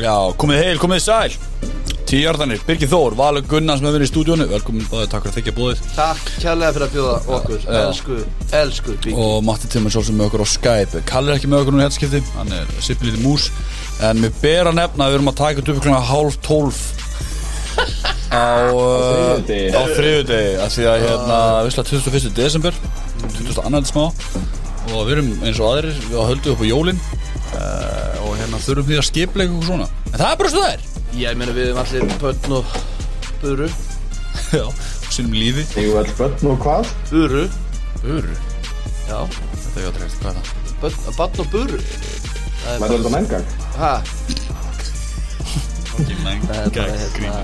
Já, komið heil, komið sæl Tíjarðanir, Birgir Þór, Valur Gunnars með verið í stúdíónu Velkomin báðið, takk fyrir að þykja búðið Takk kærlega fyrir að bjóða okkur Já. Elsku, elsku bygg Og Matti Timmer svo sem með okkur á Skype Kalli er ekki með okkur núna í hættaskipti Hann er sippilítið mús En mér ber að nefna að við erum að taka þetta upp klukkan hálf tólf Á uh, þriðjudegi. Á þriðudegi Af því að hérna, vissla 21. desember 22. smá Og við erum eins og aðrir, við höldum upp á jólin uh, Og hérna þurfum því að skipleika eitthvað svona En það er bara svo það er Ég meina við erum allir pötn og Buru, Já, sínum lífi Jú, all börn og hvað? buru Öru Já, Þetta er játrúlega hvað er það? bann og buru Það Var þetta mengang? ha, Fucking það er bara hérna,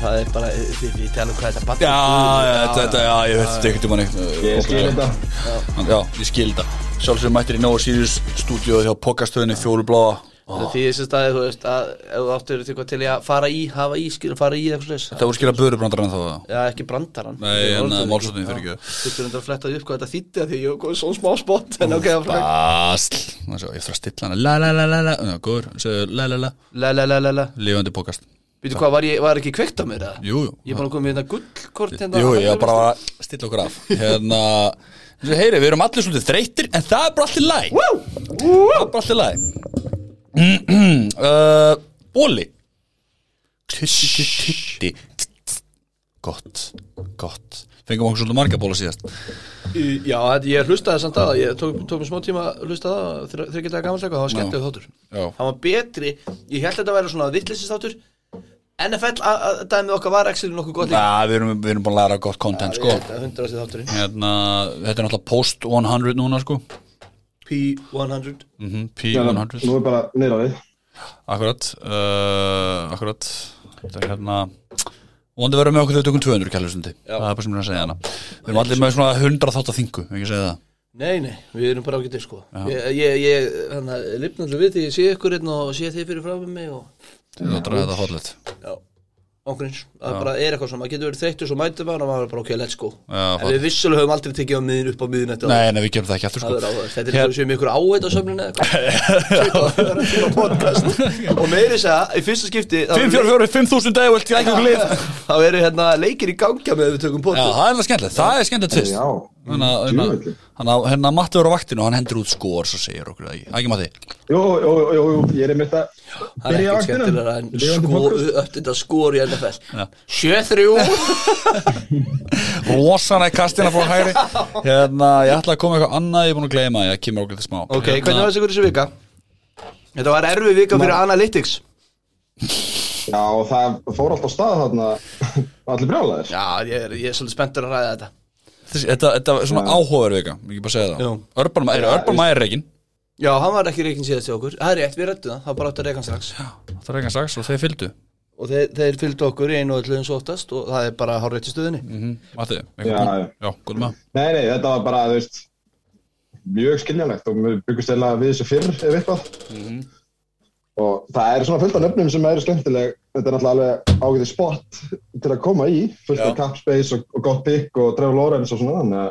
Það er bara, við, við telum um hvað þetta bann Já, já, þetta, þetta, já, ég veit þetta ekkert um hann Ég skil þetta Já, ég skil þetta Sjálfsögur mættir í Nóa Sirius stúdíóð hjá Pokastöðinni fjólubláa Það er því þessi staði, þú veist, að ef þú áttur eitthvað til í að fara í, hafa í, skilur, fara í eitthvað slags Það voru skilja börubrandarinn þá Já, ekki brandaran Nei, en, eh, málsóttin, fyrirgefðu. Þú þurfum að fletta því upp hvað þetta þýtti að því ég er svona smá spott En ok, það fræk Basl Ná, sjá, Ég þarf að stilla hana La la la la la Já, Góður, segðu la la la La la la la la Lifandi Pokast Býtu hvað, var, ég, var ekki kveikt á mér það? Jú, jú. Ég er bara að koma með hérna gullkort hérna Jú, ég var bara að stilla okkur af Hérna eins og Heyri, við erum allir svolítið þreytir En það er bara allir læg Vú! Það er bara allir læg uh, Bóli Tutti, tutti, tutti Gott, gott Fengum okkur svolítið marga bóla síðast Í- Já, þetta- ég hlustaði samt að það. Ég tók, tók mér smá tíma að hlusta það þr- Þryggja daga gammalsleika, það var skemmtileg þáttur Já. Það var betri, ég held að þetta væri svona vittlisist þáttur NFL að- að dæmið okkar var actually nokkuð gott líka Já, við erum, við erum búin að læra gott content, Ég sko held að hundrað sér þátturinn Hérna, þetta er náttúrulega post 100 núna, sko P100 mm Nú P100 er bara niður á við Akkurat, uh, akkurat Þetta er hérna Vondi verður með okkur þegar við tökum 200 kælustundi Það er bara sem ég er að segja hana Við erum allir með svona 100 þátt að þingu, ekki segja það Nei, nei, við erum bara ágættir sko Ég, ég, ég hann að lifna allir við því ég sé ykkur einn og sé þið fyrir frá mig og Það er að draga þetta hotlet Já, okkur eins Það bara er eitthvað svona, maður getur verið þreyttur svo mætið maður og maður er bara ok, let's go Já, En við vissulega höfum aldrei tekið á miðin upp á miðin þetta Nei, nei, við gerum það ekki aftur sko Það er áhugað, þetta er eins og sem ykkur áheit á sömninu eða eitthvað Sveit á podcast Og meiri þess að, í fyrsta skipti þá 5, eru 4, 4, 5000 dag velt í ægjum glið leik- Þá eru hérna leikir í gangja með við tökum Já, podcast það er alveg skemmtilegt, það er skemmtilegt fyrst Já, Mm, Þannig að- þannig að- djúvöldi þannig að hérna Matti verður á vaktinu og hann hendur út skor svo segir okkur það ekki, ekki Matti Jú, jú, jú, jú, jú, ég er einmitt að Það er byrja á ekkert vaktinum. skemmtilega en Lifandi sko, upp podcast. þetta skor í NFL Já. 7-3 Rósana í kastina frá hægri Hérna, ég ætla að koma með eitthvað annað ég er búin að gleyma, ég kemur okkur til smá Ok, hérna, hvernig var þessi ykkur þessi vika? Þetta var erfið vika fyrir Analytics Já, og það fór allt á stað þarna Allir brjálaðir Já, ég er, ég er svolítið spenntur að ræða þetta þessi, Þetta þetta var svona Já. áhugavervika, ég ekki bara segja Já. það Örban Mæri, Já, Örban veist- Mæri reikin Já, hann var ekki reikin síðast til okkur Það er rétt, við rættum það, það var bara átt að reikan strax Það er ekki að sagst og þeir fylgdu Og þeir, þeir fylgdu okkur í einu og öllu eins og oftast Og það er bara hár rétt í stöðinni Mhm, Matti, Já, eitthvað já. Já, góðum að Nei, nei, þetta var bara, þú veist Mjög skiljanlegt og við byggumst eða við þessu fyrr ef eitthvað Mhm. Og það er svona fullt af nöfnum sem eru skemmtileg Þetta er náttúrulega alveg ágætið spot til að koma í Fullt af Já. cap space og, og gott pick og Trevor Lawrence og svona Þannig að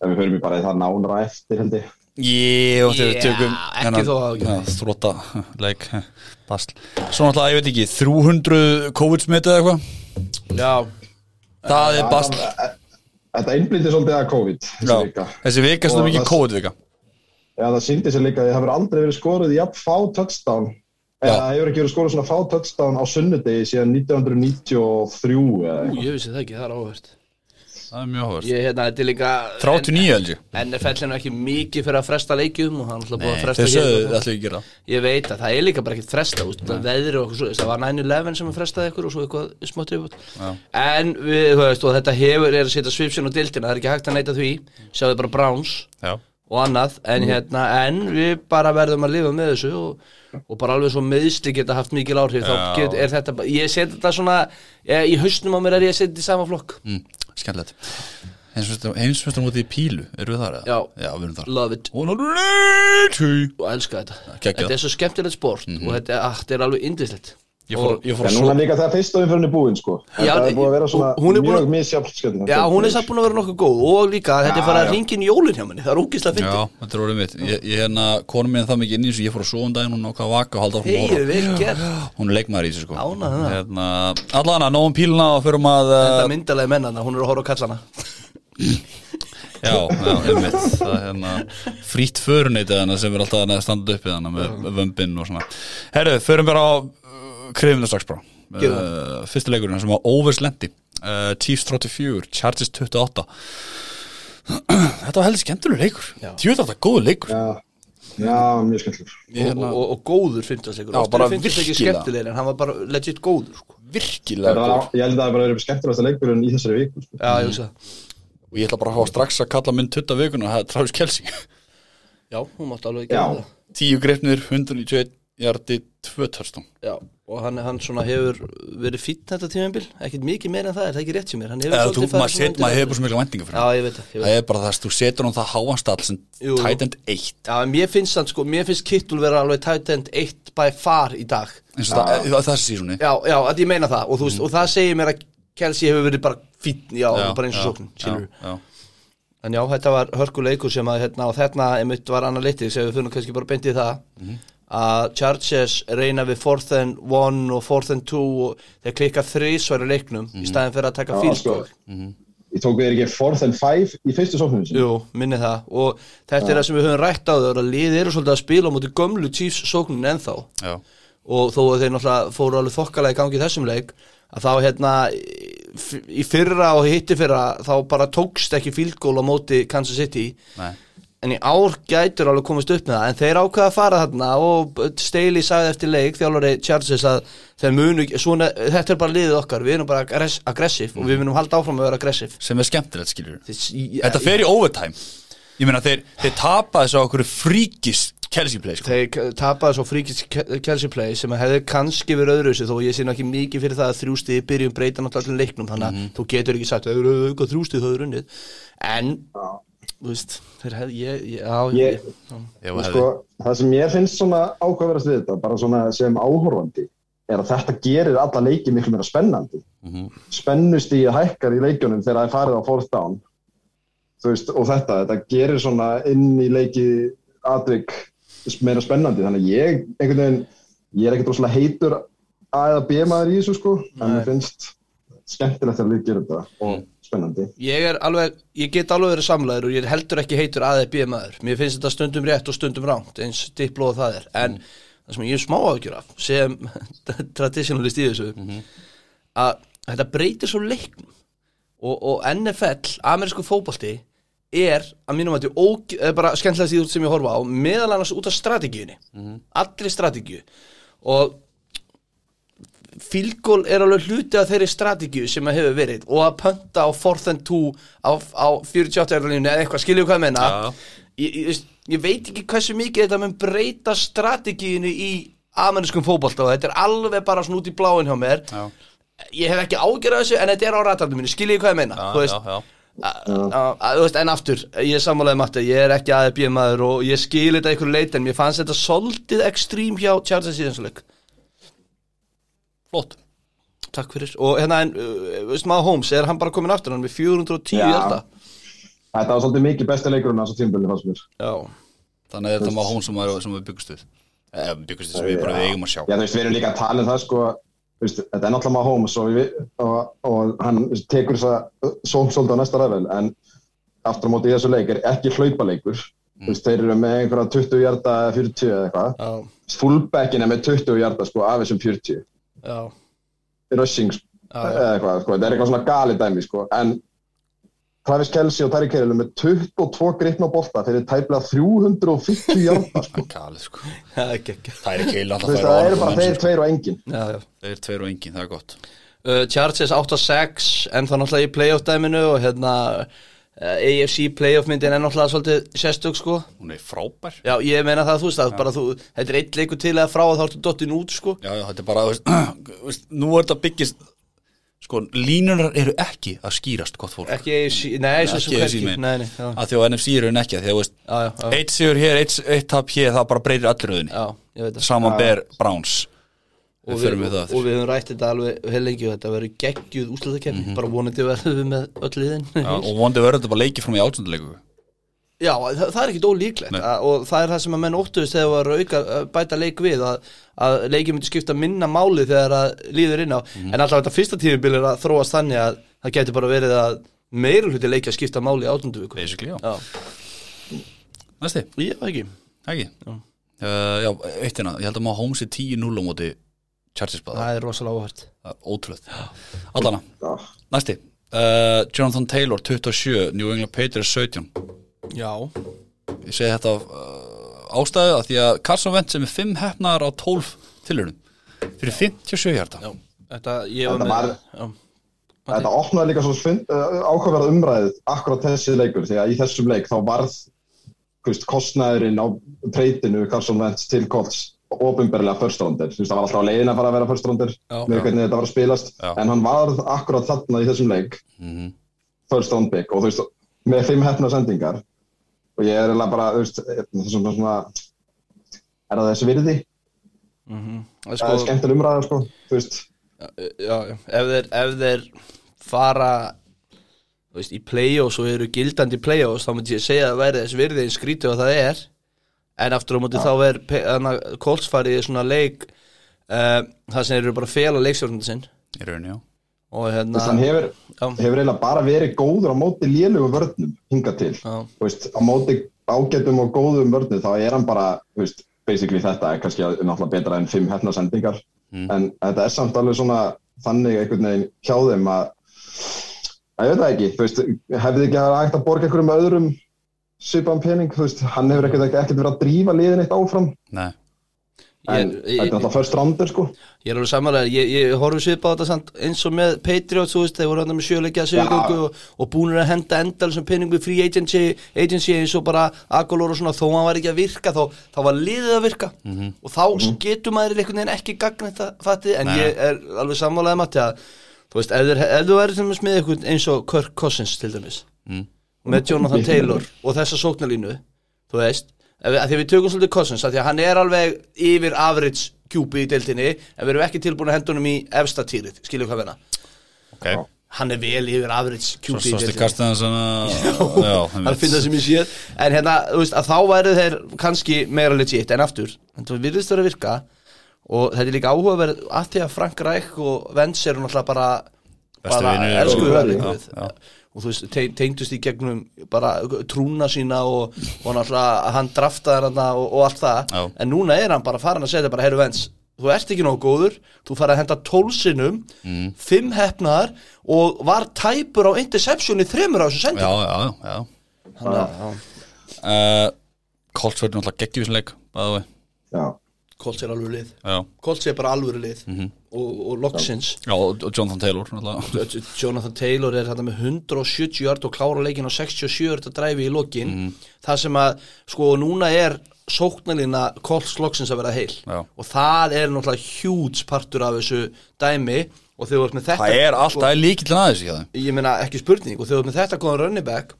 en við höfum í bara í það nánra eftir held ég Ég og þegar við Já, tökum ekki þó að- Þróta, leik, basl Svo náttúrulega, ég veit ekki, 300 COVID-smit eða eitthvað Já, Það er basl Þetta einblindi svolítið að COVID þessi Já, vika. þessi vika er svona Og mikið það- COVID-vika Já, það síndi sér líka að það hefur aldrei verið skorað í jafn fá touchdown Já. eða það hefur ekki verið skorað svona fá touchdown á sunnudegi síðan 1993 eða ú, eitthvað. ég vissi það ekki, það er áhvert Það er mjög áhverð Ég, hérna, þetta er líka 39 held ég En NFL er nú ekki mikið fyrir að fresta leikjum Og hann ætla búið að fresta Þeir sögðu hér það ætlum við að gera Ég veit að það er líka bara ekkert fresta út, það veðri og eitthvað svo, það var 9-11 sem frestaði ykkur og svo eitthvað smátt yfir en við, þú veist, og þetta hefur er að setja svipsinn á dildina, það er ekki hægt að neita því sjáðu bara Browns Já og annað en Mhm. hérna, en við bara verðum að lifa með þessu og, og bara alveg svo meðsli geta haft mikil áhrif, Já. þá get, er þetta bara- ég seti þetta svona, ég, í hausnum á mér er ég að setja þetta í sama flokk, mm, Skemmtilegt Heimsmestur mútið í pílu, eru við þar? eða? Já. Já, við erum þar love it Hún er reyti og elska þetta, Geggjað. Mhm. þetta er svo skemmtilegt sport og þetta, ah, þetta er alveg indislegt Ég fór, Og- ég fór En að núna sofa líka þegar fyrst og umfyrin er búin sko En Já, Það er búið að vera svona hún er búin að- mjög misjafn skemmtilegt. Já, hún er samt búin að vera nokkuð góð og líka að þetta er Já, farið að já. ringin í jólin hjá minni, það er ógislega fyndið. Já, þetta er orðið mitt Ég, ég hérna, konum minn er það mikið inn í þessu Ég fór að sofa um daginn, hún ákvað að vaka og halda áfram að Hei, horfa. vel gert. Hún er leikmaður í þessu sko Ánægð með það. hérna, Allan að nógum píluna og förum að Þetta uh, myndalega mennana, hún er að horfa á kallana. Já, já, einmitt Það er hérna frýtt föruneytið hana sem er alltaf að standa upp við hana með vömbinn og svona Herru, förum bara á eh, krifinu strax bara Gerum uh, Fyrsti leikurinn sem var Overs Lendi uh, Chiefs 34, Chargers 28 Þetta var heldur skemmtilegur leikur Já. Tjóðar þetta góðu leikur Já, já mjög skemmtilegur Ég og, hérna- og, og góður fimmtasleikur Já, Oft bara eru fimmtasleikir virkilega. skemmtilegir en hann var bara legit góður sko. Virkilega Það var- Ég held að það bara verið skemmtilegasta leikurinn í þessari viku sko. já, ég veist það og ég ætla bara að fá strax að kalla minn tutta vikuna það er Travis Kelsey já, hún mátti alveg Já. gera það 10 greifnir, 191 jardi, 2 törstum já, og hann, hann svona hefur verið fýtt þetta tímabil ekkert mikið meira en það, er það ekki rétt hjá mér hann hefur eða þú, farið maður svona set, maður undir- hefur bara svo mikla vendinga fyrir já, hann ég veit það, ég veit það. það er bara það, þú setur hann það háanstall sem Jú. tight end 1 já, en mér finnst hann sko, mér finnst Kittul vera alveg tight end 1 by far í dag eins og það, það, það sé sísunni já, já, að ég meina það og, Mm. þú veist, og það segir mér að Kelsey hefur verið bara fýtt já, bara eins og sókn, skilur En já, þetta var hörkuleikur sem að hérna, og þarna einmitt var analytics ef við finnum kannski bara beint í það Mhm. að Chargers reyna við 4th and 1 og 4th and 2 og þeir klikka þrísværi leiknum Mhm. í staðin fyrir að taka Já, fíl sko. Ég tók við ekki 4th and 5 í fyrstu sóknum sinni Jú, minni það og þetta er það sem við höfum rætt á þau að liðið eru svolítið að spila á móti gömlu Chiefs sóknin ennþá og þó að þeir náttúrulega fóru alveg þokkalega í gangi í þessum leik að þá hérna í- í fyrra og hitti fyrra þá bara tókst ekki fílgól á móti Kansas City en í ár gætur alveg komist upp með það en þeir ákveða að fara þarna og Staley sagði eftir leik þjálfari Chargers að þeir munu, svona, þetta er bara liðið okkar við erum bara aggress, aggressiv og við munum halda áfram að vera aggressiv sem er skemmtilegt skilur þetta þetta fer í overtime ég meina þeir, þeir tapa þessu á okkur fríkis Kelsey play sko. þeir tapaði svo fríkis Kelsey play sem að hefði kannski verið öðru þó ég sé nú ekki mikið fyrir það að þrjústið byrjum breyta náttúrulega allir leiknum þannig að þú getur ekki sagt að þau eru auka þrjústið þau eru unnið en, þú veist, þeir hefði ég, ég, já, Ég- ég, já, Ef Og að sko, hefði- það sem ég finnst svona ákveðverast við þetta, bara svona sem áhorfandi, er að þetta gerir alla leiki miklu meira spennandi. Mm Mhm. -hmm. Spennust í að hækkar í leikjunum þegar það er farið á fourth down. Þú veist, og þetta, þetta gerir svona inn í leiki atvik meira spennandi. Þannig að ég, einhvern veginn, ég er ekkert rosalega heitur A eða B maður í þessu sko, en Nei. mér finnst skemmtilegt þegar við gerum þetta og spennandi. Ég er alveg, ég get alveg verið samlæður og ég er heldur ekki heitur aðeins bíð maður. Mér finnst þetta stundum rétt og stundum rámt eins diplóð það er. En það sem ég er smá áhyggjur af sem traditionalist í þessu að þetta breytir svo leiknum og, og NFL, amerísku fótbolti er að mínum að þetta er bara skemmtilega síður sem ég horfa á meðal annars út af strategíunni allri strategíu og fílgól er alveg hluti af þeirri strategíu sem að hefur verið og að pönta á 4th and 2 á, á 48 ára línu eða eitthvað, skiljum hvað ég menna Já. ég, ég, veist, ég veit ekki hversu mikið þetta mun breyta strategíunni í amerískum fótbolta og þetta er alveg bara svona út í bláin hjá mér Já. ég hef ekki ágjörð þessu en þetta er á ratarnum mínu, skiljum hvað ég menna Já, þú veist, já, já. A- a- a- þú veist, en aftur, ég er sammálaði Matti, ég er ekki aðeins bjömaður og ég skil þetta einhverju leit en mér fannst þetta soldið ekstrím hjá Charles Síðansleik flott Takk fyrir, og hérna en, uh, veist maður Holmes, er hann bara komin aftur hann með 410 Já. hjarta? Þetta var svolítið mikið besti leikurinn á þessu tímabili fannst mér. Já, þannig að þetta var hún sem, var, sem við byggust við Eh, byggust við sem við bara við eigum að sjá Já, þú veist, við erum líka að tala um það, sko, þú veist, þetta er náttúrulega maður Holmes og, við, og, og hann þú veist, tekur þess að sók svolítið á næsta ræðvel, en aftur á móti í þessu leik er ekki hlaupaleikur. Þú veist, þeir eru með einhverja 20 hjarta eða 40 eða eitthvað. já, Fullbackin er með 20 hjarta, sko, af þessum 40. já, Rushing, sko, Já, já. eða eitthvað, sko, þetta er eitthvað svona gali dæmi, sko, en Travis Kelsey og Terry Kerrill eru með 22 gripna bolta fyrir tæplega 350 hjarta, sko. Það er galið, sko. það er ekki ekki Það er ekki heil alltaf Þú veist, færa ofan það eru frá þeim, bara þeir sko. sko. tveir og enginn. Já, já Þeir tveir og engin, það er gott uh, Chargers 8-6 en þá náttúrulega í playoff dæminu og hérna uh, AFC playoff myndin er náttúrulega svolítið sérstök sko Hún er frábær Já, ég meina það, þú veist það, bara þú, þetta er eitt leikur til eða frá að þá ertu dottin út sko Já, já, þetta er bara, þú veist, þú veist, nú er þetta byggist Sko, línunar eru ekki að skýrast gott fólk Ekki AFC, nei, svo sem þessi hverki megin. Nei, nei, já, Af því á NFC eru henni ekki af Því að, þú veist, já, já, já, eitt sigur hér, eitt, eitt tap hér Það bara breytir allröðinni já, ég veit það Saman ber Browns Við og förum við það aftur. og við höfum rætt þetta alveg heilengi og þetta verður geggjuð úslutakefni bara vonandi verðum við með öll liðin Mhm. Já, og vonandi verður þetta bara leikið frá mig átsönduleiku Já, það, það er ekkit ólíklegt Nei. að, og það er það sem að menn óttuðist þegar var að auka, að bæta leik við að, að leikið myndi skipta minna máli þegar að líður inn á Mhm. en alltaf þetta fyrsta tíðubil er að þróast þannig að það getur bara verið að meira hluti leikja skipta máli í átundu viku Basically, já Já, Næsti, ég var ekki ekki Já, uh, já eitt hérna, ég held að maður Holmes er 10-0 á móti Chargers báða, Það er rosalega óhært það er ótrúlegt Allana, Já, næsti uh, Jonathan Taylor, 27, New England Patriots 17 Já, Ég segi þetta af uh, ástæðu að því að Carson Wentz sem er 5 hefnaðar á 12 tilurinn fyrir 57 hjarta já Þetta, ég var Þetta með var- já. Þetta opnaði líka svo uh, ákvæmverð umræðið akkurat þessi leikur því að í þessum leik þá varð þú veist, kostnæðurinn á treytinu Carson Wentz til Colts ofinberlega first rounder, þú veist það var alltaf á leiðin að fara að vera first rounder Já. með hvernig þetta var að spilast Já. en hann varð akkurat þarna í þessum leik Mhm. first round pick og þú veist með fimm hefna sendingar og ég er eiginlega bara þú veist, þessum svona er það þessi virði? Það er það er sko, skemmtileg umræða sko, þú veist já, já. Ef, þeir, ef þeir fara þú veist, í play-offs og eru gildandi play-offs þá myndi ég segja að verði þess virði eins skrítið og það er en aftur á móti þá er pe- þarna Colts farið í svona leik uh, það sem eru bara að fela leikstjórnum sinn í rauninni, já og Þú hérna veist, hann hefur, Já. hefur eiginlega bara verið góður á móti lélugu vörnum hinga til Já. Þú veist, á móti ágætum og góðum vörnum þá er hann bara þú veist, basically þetta er kannski náttúrulega betra en fimm hefna sendingar Mm. en þetta er samt alveg svona þannig einhvern veginn hjá þeim að að ég veit það ekki, þú veist hefði ekki að hægt að borga einhverjum öðrum svipan pening, þú veist, hann hefur ekkert, ekkert verið að drífa liðin eitt áfram Nei, en Ég- þetta er ég- náttúrulega first rounder sko Ég er alveg samanlega, ég, ég horfi svipað á þetta samt eins og með Patriots, þú veist, þeir voru hann með sjöleikja sögugöngu og, og búinir að henda endal sem penning við free agency, agency eins og bara Agolor og svona, þó hann var ekki að virka þá, þá var liðið að virka og þá getur maður einhvern veginn ekki gagn þetta fattið, en Nei. ég er alveg samanlega Matti að, þú veist, ef, þeir, ef þú verður til dæmis með einhvern eins og Kirk Cousins til dæmis, Mm. með Jonathan Taylor og þessa sóknarlínu þú veist, ef við, að því að við tökum svolítið Cousins að því að hann er alveg yfir average kjúpi í deildinni, en við erum ekki tilbúin að henda honum í efsta týrið, skilju hvað verna ok hann er vel yfir average Svo kjúpi í stósti deildinni kastaðan svona Já, hann finnst það sem ég sé en hérna, þú veist, að þá væri þeir kannski meira legit en aftur en þú virðist vera að virka og þetta er líka áhugaverð að því að Frank Reich og Vents eru náttúrulega bara Bestu bara vinir elskuðu og- verið Já, guð. já. og þú veist, te tengdust í gegnum bara trúna sína og, og náttúrulega hann draftaði hann og, og allt það, Já. en núna er hann bara farin að segja bara, heyru Vents, þú ert ekki nógu góður þú farið að henda tólsinum mm. fimm hefnaðar og var tæpur á interceptioni þremur á þessu sendi Já, já, já, já. Þannig að- já. Uh, Colts verður náttúrulega geggjum í þessum leik bæði já, Colts er alveg lið Já, Colts er bara alvöru lið og, og loksins Mhm. já og og Jonathan Taylor náttúrulega Jonathan Taylor er þetta með 170 yard og klára leikin á 67 yard að dræfi í lokin Mhm. það sem að sko núna er sóknalina Colts loksins að vera heil Já. og það er náttúrulega huge partur af þessu dæmi og þegar þú ert með þetta Sko- Það er alltaf líkillin aðeins ekki það ég meina ekki spurning og þegar þú ert með þetta góðan running back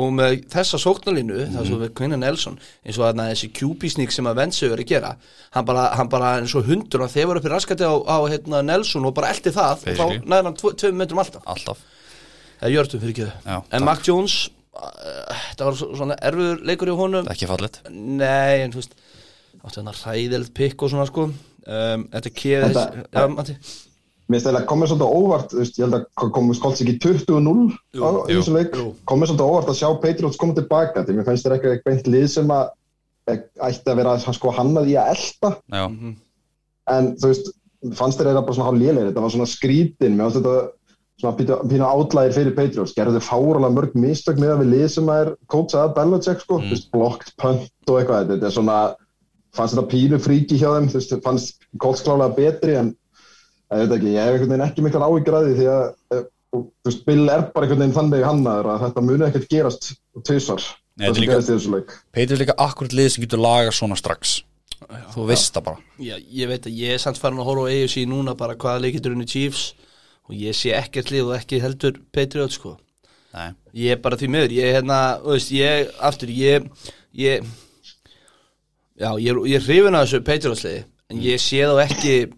og með þessa sóknarlínu mm -hmm. það Mhm. sem við Quinn Nelson eins og þarna þessi QB-sník sem að Vensi verið að gera hann bara, hann bara eins og hundur og þeir voru upp í raskati á, á hérna, Nelson og bara eldi það og Basically. þá næður hann tvo- tveim metrum alltaf Alltaf eða jörtum fyrir Já, ekki þau takk. en Mac Jones, uh, þetta var svo- svona erfiður leikur í honum Ekki fallit nei, en þú veist áttu hann að ræðilegt pikk og svona sko um, þetta keði Þetta- ja, Matti. Mér stæði að komið svolítið á óvart, þú veist, ég held að komið skolts ekki 20-0 á Jú, í þessum leik, jú. komið svolítið á óvart að sjá Patriots koma tilbaka, því mér fannst þér ekki beint lið sem að ætti að vera sko hannað í að elta, Já, en þú veist, fannst þér eða bara svona hálf lélegir, þetta var svona skrítin, mér fannst þetta svona pínu, pínu átlægir fyrir Patriots, gerðu fáralega mörg mistök með að við lið sem að er kótsað að Belichick Mm. sko, þú veist, blokkt, pönt og eitthvað, þetta er svona, fannst þetta pínu fríki hjá þeim, þú veist, fannst Colts klálega betri en ég veit ekki, ég hef einhvern veginn ekki miklar áhyggraði því að eh, og, þú veist, Bill er bara einhvern veginn þannig hannaður að þetta muni ekkert gerast tvisar, Nei, þetta það er sem líka- gerist í þessu leik Peitur er líka akkurat lið sem getur lagað svona strax Þú veist það bara Já, ég veit að ég er samt farin að horfa á AFC núna bara hvaða leikindur unni Chiefs og ég sé ekkert lið og ekki heldur Patriots sko. Nei Ég er bara því miður, ég er hérna, þú veist, ég, aftur, ég, ég, já, ég, er- ég er hrifin að þessu Patriots liði en ég sé þá ekki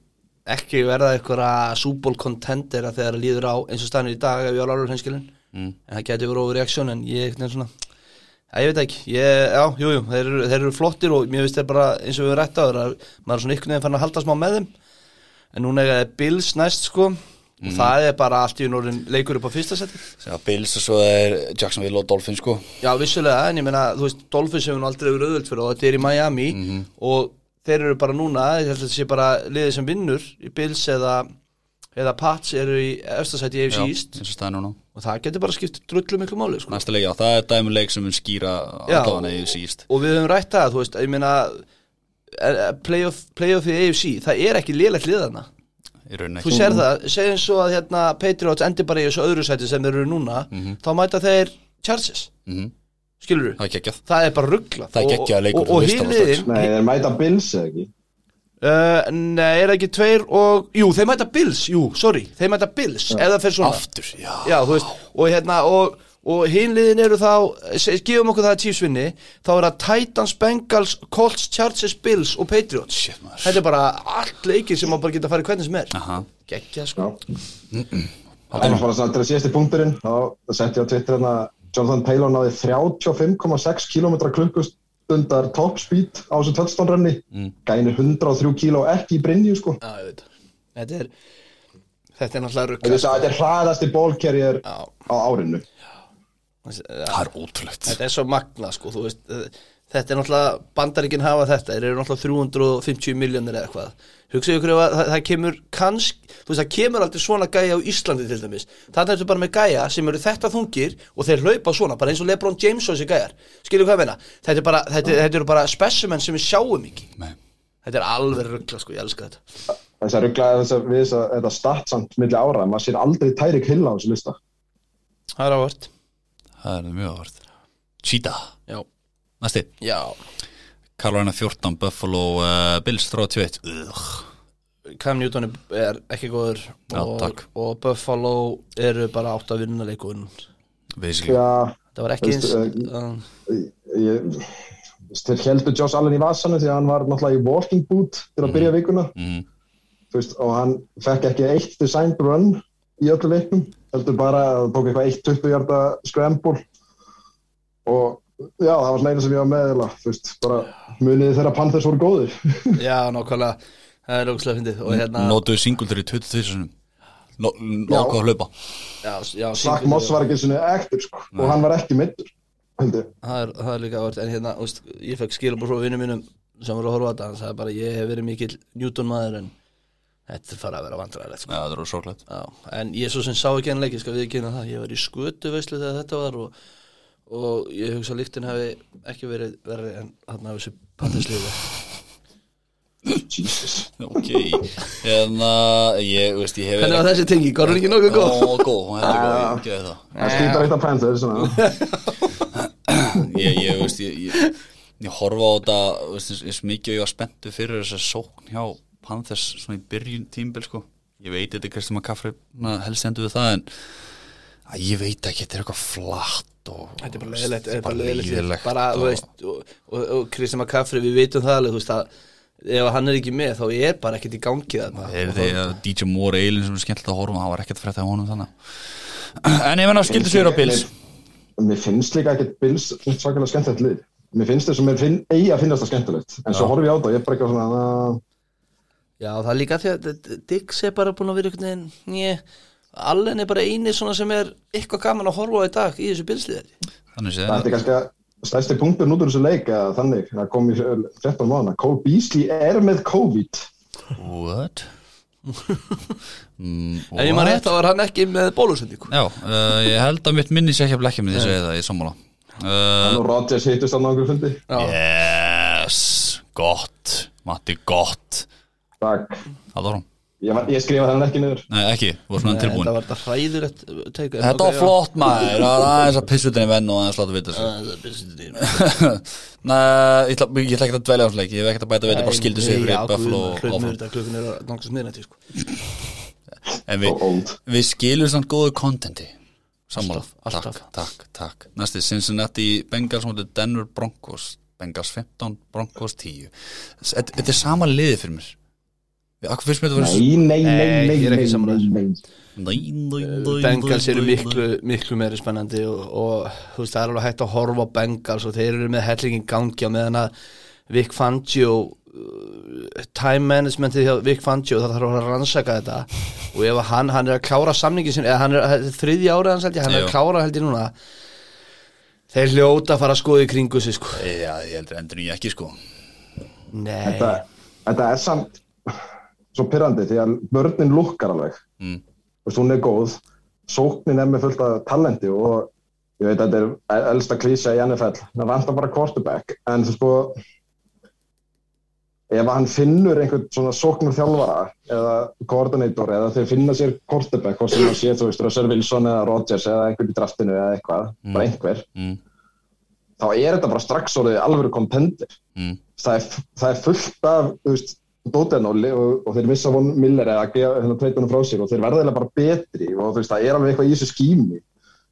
ekki verða eitthvað súból contender að þegar líður á eins og stannir í dag ef ég alveg alveg hreinskilin Mm. en það getur verið overreaction en ég er svona að ég veit ekki, ég, já, jú, jú, þeir eru, þeir eru flottir og mér finnst þeir bara eins og við erum rætt á þeir að maður er svona ykkur nefn fann að halda smá með þeim en núna er það Bills næst sko og það er bara allt í norðin leikur upp á fyrsta seti Já, Bills og svo er Jacksonville og Dolphins sko Já, vissulega, en ég meina, þú veist, Dolphins hefur nú aldrei verið auðvöld fyrir og þetta er í Miami Mhm. og þeir eru bara núna, ég held að þetta sé bara liðið sem vinnur í Bills eða, eða Pats eru í östasæti í AFC Já, East eins og staðan núna og það getur bara skipt drullu miklu máli, sko. Næsta leik, já, það er dæmuleik sem mun skýra Já. allan eða síst Og við höfum rætt það, þú veist, ég meina, eh, eh, playoff, playoff í AFC, það er ekki liðlegt liðana. í rauninni Þú ekki. sér það, segjum svo að hérna Patriots endir bara í þessu öðru sæti sem þeir eru núna, þá mæta þeir Chargers, Mhm. skilur við? Það er geggjað Það er bara ruggla Það er geggjaður leikur, Og, þú og, og veist það alveg strax. hýliðin, Nei, þeir mæta Bills eða ekki Uh, nei, er það ekki tveir og Jú, þeir mæta Bills, jú, sorry Þeir mæta Bills, ef það fer svona Aftur, já Já, þú veist, og hérna og, og hinliðin eru þá, se- gefum okkur það að Chiefs vinni, þá er það Titans, Bengals, Colts, Chargers, Bills og Patriots Shit, maður. Þetta er bara allt leikir sem maður bara geta að fara í hvernig sem er Aha. Gekkja, sko Já En bara svona til að síðasti punkturinn þá setti ég á Twitter hérna Jonathan Taylor náði 35,6 km klukkustundar top speed á þessu touchdown-renni mm. gænir 103 km ekki í Brynju sko Já, ég veit Þetta er, þetta er náttúrulega sko. rugga Þetta er- þetta er hraðasti bólkerjir Já. á árinu Þetta Það er ótrúlegt er svo magna, sko, þú veist eh, Þetta er náttúrulega, bandaríkin hafa þetta Þeir eru náttúrulega 350 miljónir eða eitthvað Hugsaðu ykkur ef að það, það kemur kannski, þú veist, það kemur aldrei svona gæja á Íslandi til dæmis Það er bara með gæja sem eru þetta þungir og þeir laupa svona, bara eins og Lebron James og þessi gæjar Skilju hvað ég meina? Þetta, er bara, þetta, þetta eru bara specimen sem við sjáum ekki Nei. Þetta er alveg ruggla, sko, ég elska þetta Þess að rugglaði þess að við þess að þetta statsamt milli ára, maður sér aldrei Tærik Hill á þessu lista Það er ávart Það er mjög áhvert Cheetah Já, Næsti já Carolina 14, Buffalo uh, Bills 31 Ugh. Cam Newton er- er ekki góður Já, og, takk. og Buffalo eru bara átt að vinna leikunum Basically Já, Það var ekki eins Veistu, uh, ég, veist, þeir heldur Josh Allen í vasanum því að hann var náttúrulega í walking boot til að byrja vikuna Mhm. Þú veist, og hann fekk ekki eitt designed run í öllu leiknum heldur bara að það tók eitthvað eitt 20 hjarta scramble og já, það var svona eina sem ég var með eiginlega, þú veist, bara muniði þeirra Panthers voru góðir Já, nákvæmlega Það er ógustlega fyndið Og hérna Nótuðu singuldur í 22 sinum Nó- Já. Nókuðu að hlaupa já, já, Zach Singletary- Moss var ekki svona ektur sko, og hann var ekki middur heldur, það er, það er líka áhört En hérna, úst, ég fekk skilabóð frá vinnum mínum sem voru að horfa á þetta Hann sagði bara Ég hef verið mikill Newton maður en Þetta er fara að vera vandræðilegt sko. Já, það eru sorglegt Já, en ég svo sem sá ekki hann leik, ég skal við ekki það, ég var í skötu veislu þegar þetta var og, og ég hugsa að líktin hafi ekki verið verið en þarna af þessu pantislífi. Jesus Ok En uh, ég, veist, ég hef Hvernig var þessi tengi, var hún ekki nokkuð góð? Ó, góð, hún hefði góð, ég gefið það það skýtar eitt af Panthers svona. ég, ég, veist, ég, ég, ég horfa á þetta veist, eins, eins mikið og ég var spenntu fyrir þess að sókn hjá Panthers svona í byrjun tímbil sko. ég veit þetta er Kristján Kaffri helst endur við það en að, ég veit ekki, þetta er eitthvað flatt og, Þetta er bara leiðilegt, þetta er bara bara sko. leiðilegt leiðilegt bara, þú og- veist, og, og, og Kristján McCaffrey, við vitum það alveg, þú veist að ef hann er ekki með, þá er bara ekkert í gangi þarna. Er því að DJ Moore Eilin sem er skemmtilegt að horfa, hann var ekkert að frétta á honum þannig En ég menna skildi sér á Bills mér finnst líka ekkert Bills svakalega skemmtilegt lið mér finnst þess að mér finn, eigi að finnast það skemmtilegt en svo horfum ég á það, ég er bara eitthvað svona "Ah, Já, það er líka því að D- D- Dix er bara búin að vera einhvern veginn, njö, Allen er bara eini svona sem er eitthvað gaman að horfa á í dag í þessu bilsliðið. Þannig þetta séð, er kannski að stærsti punktur nút úr þessu leik að þannig að kom í 13 mánu Cole Beasley er með COVID what? mm, En ég maður rétt þá var hann ekki með bólusendingu. Já, uh, ég held að mitt minni sé ekki að blekja með því að segja það í sammála uh, hann og Rodgers hittust hann á einhverjum fundi Já, Yes, gott Matti, gott takk, Það var hún, ég, var- ég skrifa þennan ekki niður nei ekki, þú var svona Nei, tilbúin Þetta var þetta hræðilegt uh, take. En Þetta ok, var flott maður, það var aðeins að pissutinni venn og aðeins láta vita já. sér Það er bilsliðið. Nei, ég ætla ég ætla ekkert að dvelja á leik, ég hef ekkert að bæta við þetta bara skildu sig Já, fyrir Buffalo guð, og hlaupum áfram yfir þetta, klukkan er að nálgast miðnætti, sko. En og við, old við skilum samt góðu kontenti Sammála, Alltaf, takk, alltaf. takk, takk Næsti, Cincinnati Bengals mútið Denver Broncos Bengals 15, Broncos 10 Þetta þetta er sama liðið fyrir mér Akkur fyrst mér þetta var Nei, nei, nei, Nei, nei, ég er ekki nei, sammála nei, þessu. nei. Nei, nei, nei Eh, Bengals nei, eru nei, miklu, miklu meiri spennandi og, og þú veist, það er alveg hægt að horfa á Bengals og þeir eru með hellingin gangi á meðan að Vic Fangio uh, time managementið hjá Vic Fangio það þarf að fara að rannsaka þetta og ef að hann, hann er að klára samningin sin eða hann er þetta er þriðja árið hans held ég, hann er Jú. að klára held ég núna þeir hljóta að fara að skoða í kringu sig sko. nei. Já, ég heldur endur ég ekki sko Nei, Þetta, þetta er samt svo pyrrandi því að börnin lukkar alveg Mm. Þú veist, hún er góð sóknin er með fullt af talenti og ég veit að þetta er elsta klísja í NFL það vantar bara quarterback en þú sko ef hann finnur einhvern svona sóknum þjálfara eða koordinator eða þeir finna sér quarterback hvort sem það sé þú veist Russell Wilson eða Rodgers eða einhvern í draftinu eða eitthvað bara einhver Mm. þá er þetta bara strax orðið alvöru kompendir Mm. það er, það er fullt af þú veist, dótenóli og, og þeir missa von Miller eða gefa hérna tveitunum frá sér og þeir verða eiginlega bara betri og þú veist, það er alveg eitthvað í þessu skími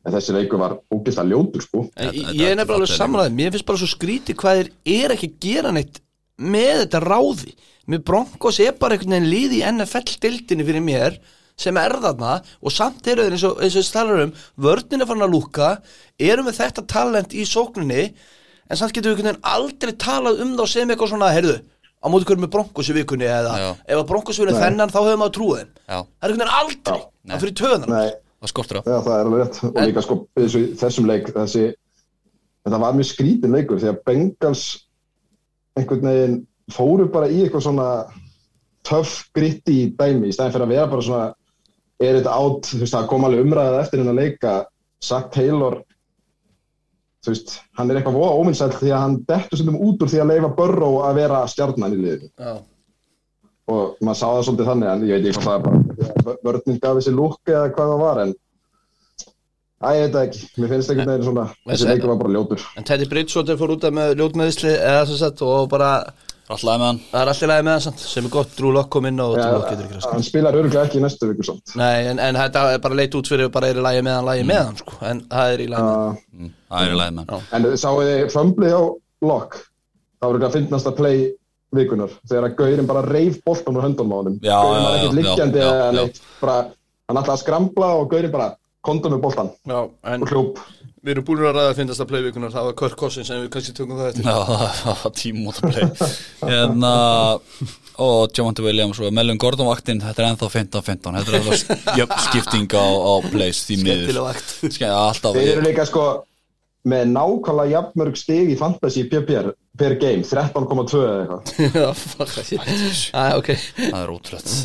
en þessi leikur var ógeðslega ljótur sko En Þetta- ég þetta- er nefnilega alveg þetta er samræðið, mér finnst bara svo skrítið hvað þeir er ekki að gera neitt með þetta ráði mér Broncos er bara einhvern veginn líð í NFL-dildinni fyrir mér sem er þarna og samt eru þeir eins og, eins og við talar um, vörnin er farin að lúka eru með þetta talent í sókninni en samt getum við einhvern veginn aldrei talað um þá sem eitthvað svona, heyrðu á móti hverjum með Broncos í vikunni eða Já. ef að Broncos vilja Nei. þennan þá höfum við að trúa þeim Já. það er einhvern veginn aldrei, Já. það fyrir töðan Nei, Það skortur á já, það er alveg rétt og líka sko í þessu, þessum leik þessi, þetta var mjög skrítin leikur því að Bengals einhvern veginn fóru bara í eitthvað svona töff gritti dæmi í stæðin fyrir að vera bara svona er þetta átt, þú veist, það kom alveg umræðað eftir hennar leika, Zach Taylor þú veist, hann er eitthvað voða óminnsæll því að hann dettur stundum út úr því að leifa Burrow að vera stjarnan í liðinu Já. og maður sá það svolítið þannig en ég veit ekki hvað það er bara vörninn gaf þessi lúk eða hvað það var en Æ, ég veit það ekki, mér finnst einhvern veginn svona þessi Nei, leikur var bara ljótur En Teddy Bridgewater fór út af með ljótmeðisli eða sem sagt og bara Alltaf með hann það er allt í lagi með hann samt sem er gott Drew Lock kom inn og Drew Lock getur ekki ja, rast hann spilar örgulega ekki í næstu viku samt Nei, en, en þetta er bara leit út fyrir bara er í lagi með hann, lagi með hann sko en það er í lagi með hann uh, Mm, Það er í lagi með hann en sáu þið fömblið á Locke það var örgulega fyndnasta play vikunar þegar að Gaurin bara reif boltan úr höndunum á honum Já, Gaurinn var já, ekkert já, liggjandi já, eða já. neitt bara, hann ætlaði að skrambla og Gaurin bara kondum með boltan Já, en og hljóp við erum búin að ræða að finnast að playvikunar það var Kirk Cousins en við kannski tökum það eftir Já, það var tímótaplay Hérna Og Javante Williams og Melvin Gordon vaktinn Þetta er ennþá 15-15 Þetta er alltaf jöfn skipting á, á plays Því miður Skemmtilega vakt Ske- Alltaf þeir eru líka sko með nákvæmlega jafnmörg stig í fantasy PPR per game, 13,2 eða eitthvað Já, fuck Það er ok Það er ótrúlegt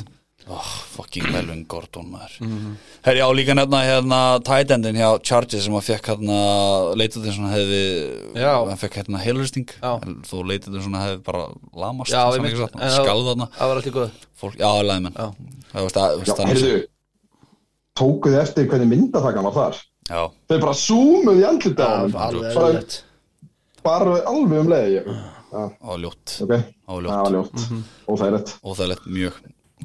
Mm. oh, Fucking Melvin Gordon maður mm Mhm. -hmm. Herri á líka nefna hérna Tidendin hjá Chargers sem að fekk hérna Leitið svona hefði Já. Hann fekk hérna heilurusting Já. Þú leitið svona hefði bara lamast Já, ég samningasátt, mynd- en það- Skalð þarna Það var allt í góð Fólk, Já, lagði menn Já. Það veist að Já, heyrðu, tókuðu eftir hvernig myndatakan var þar Já, þeir bara zoomuðu í andlitið á Það honum var alveg bara, erfitt. bara alveg um leiði já, á ljótt Á ok, það var ljótt, ljótt óþægilegt óþægilegt mjög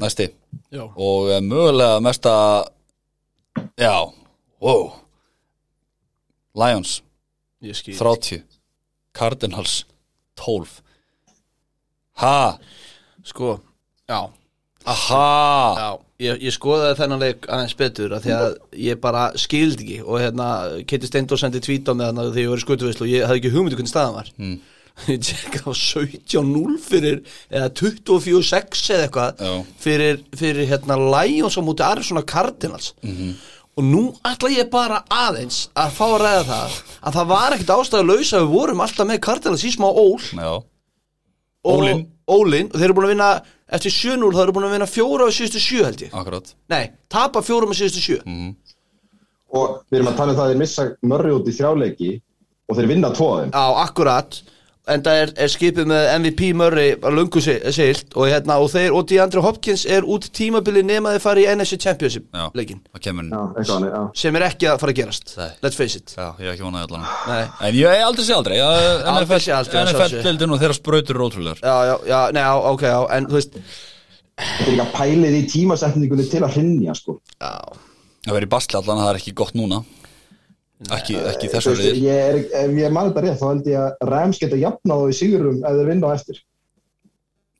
Næsti, Já. og eh, mögulega mesta Já, wow Lions Ég skil 30 Cardinals 12 Ha, Sko, já aha Já, ég, ég skoðaði þennan leik aðeins betur að því að ég bara skildi ekki og hérna, Kitty Steindor sendi tvít á mig þannig að því ég var í skutuvislu og ég hafði ekki hugmyndu hvernig staðan var Mm. ég tjekka á 17-0 fyrir eða 24-6 eða eitthvað Já. fyrir, fyrir hérna Lions á múti Arizona Cardinals Mhm. -hmm. og nú ætla ég bara aðeins að fá að ræða það að það var ekkit ástæðu laus að við vorum alltaf með Cardinals í smá ól Já, og- Ólin. Ólin, og þeir eru búin að vinna eftir 7-0 það eru búin að vinna fjóra og síðustu sjö held ég akkurat Nei, tapa fjórum og síðustu sjö og við erum að tala um það að þeir missa mörri út í þrjáleiki og þeir vinna tvoðin Á, akkurat En það er, er skipið með MVP Murray að lungu sig- silt og, hérna, og þeir og DeAndre Hopkins er út tímabili nema þeir fara í NFC Championship Já, leikin það kemur já, henni eitthvað hann, já sem er ekki að fara að gerast Nei. Let's face it Já, ég hef ekki vonaði allan Nei. En ég hef aldrei sé aldrei Já, Aldrei NFL sé aldrei, að sjálfsögðu. NFL-deldin og þeirra sprautur eru ótrúlegar Já, já, já, nei, já, ok, já, en þú veist þetta er líka pælið í tímasetningunni til að hrinja sko Já, Það verið basli allan, það er ekki gott núna Ekki, ekki Þú þessu veist, reyðir ég er, ef ég man þetta rétt þá held ég að Rams geta jafnað á í sigurum ef þeir vinna á eftir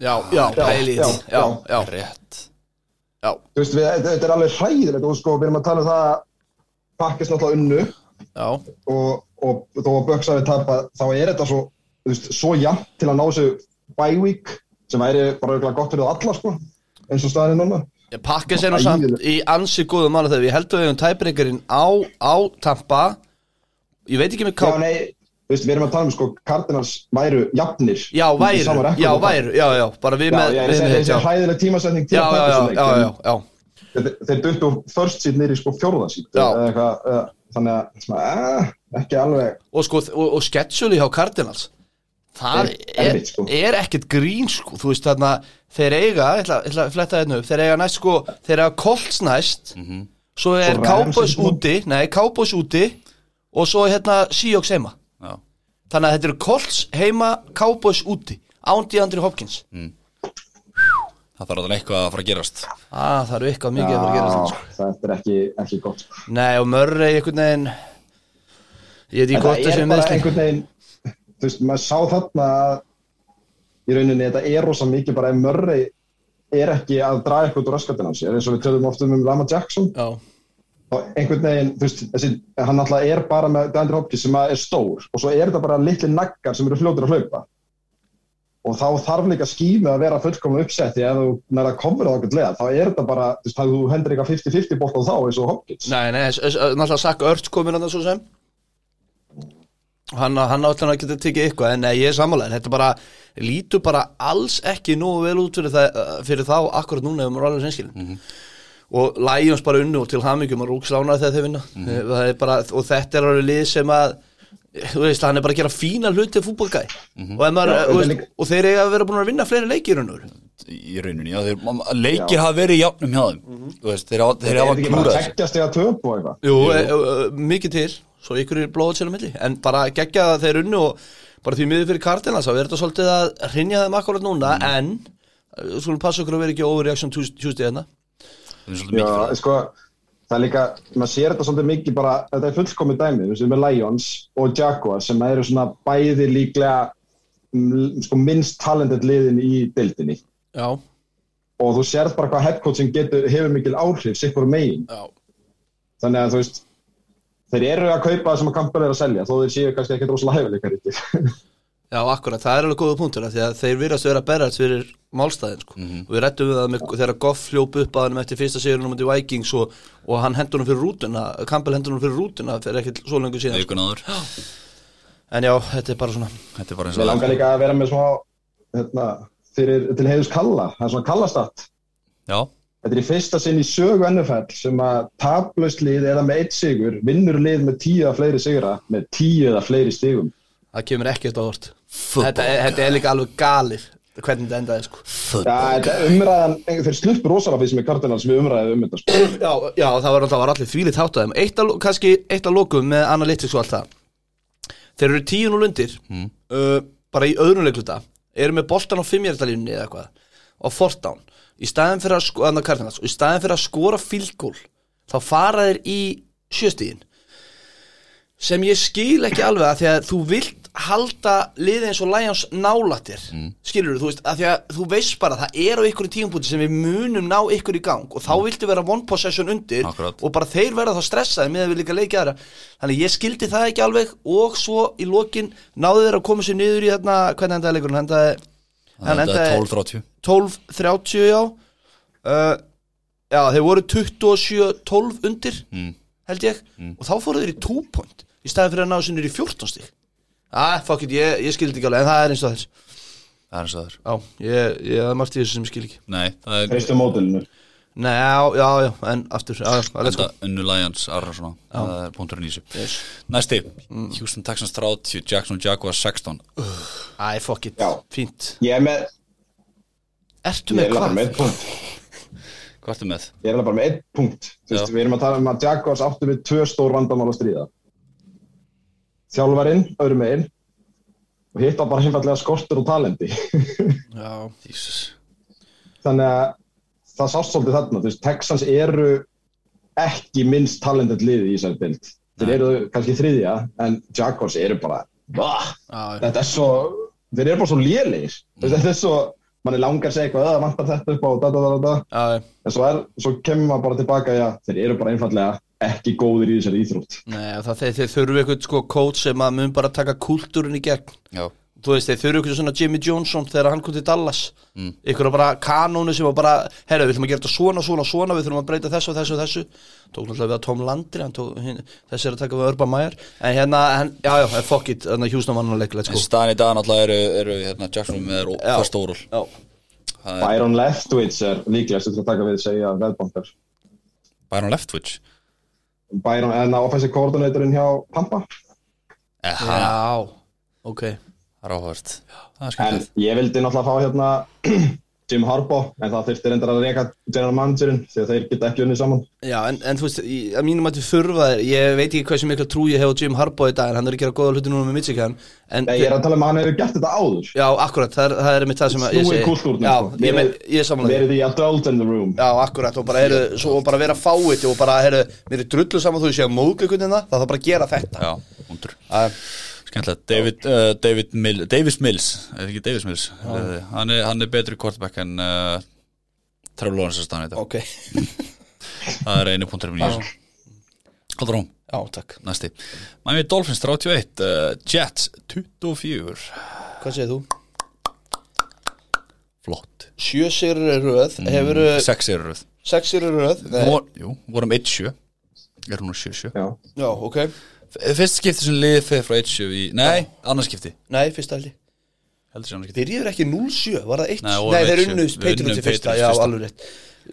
Já, já, pæli í já, því. Já, já, Rétt já, Þú veist, við, þetta þetta er alveg hræðilegt og sko, við erum að tala um það að pakkist náttúrulega unnu já, og, og þó að Bucks hafi tapað, þá er þetta svo, þú veist, svo jafn til að ná þessu bye week sem væri bara auðvitað gott fyrir þá alla, sko, eins og staðin núna. Ég pakka sér nú samt í ansi góðum mála þegar við heldum við um tæbreykarinn á, á Tampa Ég veit ekki með Já, ká nei, þú veist, við erum að tala um, sko, Cardinals væru jafnir. Já, Í sama væru, record já, og það. væru, já, já, bara við Já, með, já, við þessi með þessi já. hræðileg tímasetning til Já, að já, taka já, þessu leik, já, en já, já, Þeir, þeir duttu first seed nýri, sko, fjórða seed. Já. eða eitthvað, eða, Þannig að, svona, eh, ekki alveg, og sko, og, og schedule hjá Cardinals það Er- er, erfitt, sko. er ekkert grín sko, þú veist þarna þeir eiga, ég ætla, ég ætla að fletta þetta upp þeir eiga næst sko, þeir eiga Colts næst svo er Svo Rams Cowboys einhvern úti nei, Cowboys úti og svo hérna Seahawks heima Já. þannig að þetta eru Colts heima Cowboys úti, ándi Andri Hopkins Það þarf alveg eitthvað að fara að gerast ah, það eru eitthvað mikið að fara að gera þetta sko. já, það er ekki, ekki gott, sko. nei, og Murray einhvern veginn ég veit ekki En hvort það þessi er bara meðsli einhvern veginn þú veist, maður sá þarna að í rauninni þetta er rosa mikið bara ef Murray er ekki að draga eitthvað úr raskatinn hans er eins og við tölum oft um um Lama Jackson já, og einhvern veginn, þú veist, þessi, hann alltaf er bara með Dandri Hopkins sem að er stór og svo er þetta bara litli naggar sem eru fljótur að hlaupa og þá þarf líka skímið að vera fullkomna uppsetti ef þú nærða komur á okkur lega þá er þetta bara, þú veist, þú hendur eitthvað 50-50 bótt á þá eins og Hopkins Nei, nei, þess- þess- náttúrulega Sakka Örts komin hann svo sem Hann, hann áttan að geta tekið eitthvað en nei, ég er sammálaðin, þetta bara lítur bara alls ekki nógu vel út fyrir, það, eh, fyrir þá akkurat núna ef maður alveg seinskilin mm Mhm. og Lions bara unnu og til hamingjum og rúks lánaði þegar þau vinna Mhm. mm -hmm. bara, og þetta er alveg lið sem að þú veist, hann er bara að gera fína hluti fútbolgæ mm -hmm. og, ef maður, Já, þú þetta er veist, líka- og þeir eiga að vera búin að vinna fleiri leikir unnur Í rauninni, já, þeir, mamma- leikir hafa verið í játnum hjá þeim Þú veist, þeir, hafa- þeir er hafa þetta ekki bara klúrað að þessu. tekja stiga töp og eitthvað Jú, e, e, e, mikið til Svo ykkur er blóðað sér á milli En bara geggja það þeir unnu og bara því miður fyrir Cardinals þá er þetta svolítið að hrynja þeim akkurat núna en e, skulum passa okkur að vera ekki overreaction Tues- Tuesday hérna Þeim er svolítið mikið Já, fyrir sko, það er líka, maður sér þetta svolítið mikið bara, þetta er fullkomið dæmi, þú veist, við erum með Lions og Jaguars sem eru svona bæði líklega mm, sko, minnst talented liðin í deildinni Já, og þú sérð bara hvað headcoaching getur, hefur mikil áhrif, sikkur megin, já, þannig að þú veist, þeir eru að kaupa það sem að kampur er að selja, þó þeir séu kannski ekki rosalega hæfileikar yttir. já, akkurat, það er alveg góða punktur af því að þeir virðast vera berðast fyrir málstæðin sko. og við rettum við það með, þegar Goff hljóp upp að hann eftir fyrsta sigurinn á mútið Vikings og, og hann hendur hann fyrir rútuna Campbell hendur hann fyrir rútuna fyrir ekkert svo lengur síðan sko. Leikun áður en já, þetta er bara svona Þetta er bara eins Mér og langar líka að vera með smá, hérna, fyrir, til heiðus kalla, það er svona kallastatt. Já, Þetta er í fyrsta sinn í sögu NFL sem að taplaust lið eða með eitt sigur vinnur lið með tíu eða fleiri sigra með tíu eða fleiri stigum. það kemur ekkert á orð þetta, Football. er- þetta er líka alveg galið hvernig þetta endaði sko Já, þetta er umræðan, þeir sluppur rosalega fyrir sem er kardinal sem við umræðum um þetta. Sko. já, já, það var, það var allir þvílið þátt að þeim eitt að, lo- kannski eitt að lokum með analytics og allt það þeir eru tíun og lundir uh, bara í öðrum leikluta eru með boltan á fimmjærdalínunni eða eitthvað og fortán í staðin fyrir að skora Cardinals, og í staðin fyrir að skora fílgól þá fara þeir í sjöstíðin sem ég skil ekki alveg að því að þú vilt halda liðið eins og Lions nálatir mm. skilur þú veist, að því að þú veist bara það er á ykkur tímpúti sem við munum ná ykkur í gang og þá viltu vera one possession undir Akkurat. og bara þeir verða þá stressaði með að við líka leikja aðra þannig ég skildi það ekki alveg og svo í lokin náðu þeir að koma sér niður í þarna hvernig endaði leikurinn, Hann endaði hann þetta er endaði 12-30 12-30 já uh, já þeir voru 27-12 undir mm. held ég og þá fóru þeir í 2 point í staði fyrir að ná sér niður í 14 stík ah, fuck it, ég, ég skildi ekki alveg en það er eins og þess Það er eins og það er já, ég, ég það er margt í þessu sem ég skil ekki Nei, það er Fyrstu mótilinu. Nei, já, já, já, en aftur, já, já, let's go Þetta unnu Lions Arnarsson Það er punkturinn í þessu Yes. Næsti, Houston Texans 30 Jackson Jaguars 16 Æ, fuck it, Já. fínt Ég er með, Ertu ég með er bara hvað? með eitt punkt. Hvað ertu með? Ég er bara með eitt punkt. Þú Veist, Já. við erum að tala um að Jaguars áttu við tvö stór vandamál að stríða. Þjálfarinn, öðrum meginn og hitt á bara einfallega skortur og talendi. Já, Jesus þannig að það sást svolítið þarna þú veist, Texans eru ekki minnst talented liði í þessari bild þeir eru kannski þriðja en Jaguars eru bara "Vah, já, já, þetta er svo, þeir eru bara svo lélegir Þú veist, þetta er svo manni langar að segja eitthvað, það vantar þetta upp á da, da, da, da, da. Já, en svo, er, svo kemur maður bara tilbaka já, þeir eru bara einfallega ekki góðir í þessari íþrótt nei, og það þeir, þeir þurfu eitthvað sko kót sem að mun bara taka kúltúrin í gegn Já, Þú veist, þeir þurfu eitthvað svona Jimmy Johnson þegar hann kom til Dallas mm. Ykkur bara kanónu sem var bara Herra, við ætlum að gera þetta svona, svona, svona Við þurfum að breyta þessu og þessu og þessu Tók náttúrulega við að Tom Landry hann tók, hinn, Þessi er að taka við Urban Meyer En hérna, hann, já, já, en fuck it Þannig að Hjúsnum vann sko. að leik, let's en go staðan í dag náttúrulega eru, eru hérna, Jackson með er Já. fast órul Já, Byron Leftwich er líklegast til að taka við að segja veðbankar Byron Leftwich Byron, en að offensive coordinatorinn hjá Pampa Eh, Það já, ok er áhört Það er en skemmt ég vildi náttúrulega fá hérna Jim Harbaugh, en það þurfti reyndar að reyka general managerinn, því að þeir geta ekki unni saman Já, en, en þú veist, í- að mínum að þið þurfa þér Ég veit ekki hversu mikla trú ég hef á Jim Harbaugh í dag En hann er að gera góða hluti núna með Michigan en, Nei, ég er að tala um að hann hefur gert þetta áður Já, akkurat, það er, það er einmitt það sem að ég Snúið segi kúltúrnum, Já, sko. ég, með, ég er samanlega verið í adult in the room Já, akkurat, og bara, heru, svo, og bara vera fáið Og bara, heru, mér er drullu saman þú sé að móðga einhvern veginn það Það þarf bara að gera þetta Já, hundur Að- Skemmtilegt, David, uh, David Mill, Davis Mills eða ekki Davis Mills uh, hann, er, hann er betri quarterback en uh, Trevor Lawrence er staðan í dag Ok, það er einu punktur um nýjum Haldur hún, já, takk næsti Miami Dolphins 31, uh, Jets 24 Hvað segir þú? flott, Sjö sigurur er röð Hefur Mm, sex eru röð sex sigurur er röð Eh, Nei, Vor, jú, vorum 1-7 er hún á 7-7 Já. Já, ok F- fyrst skipti sem liðið fyrir frá 1-7 í, nei, annars skipti Nei, fyrst að heldur sem annars skipti Þeir eru ekki 0-7, var það 1? Nei, Nei, og þeir 1-7. unnu Við Patriots unnum í fyrsta, Patriots já, fyrsta. alveg rétt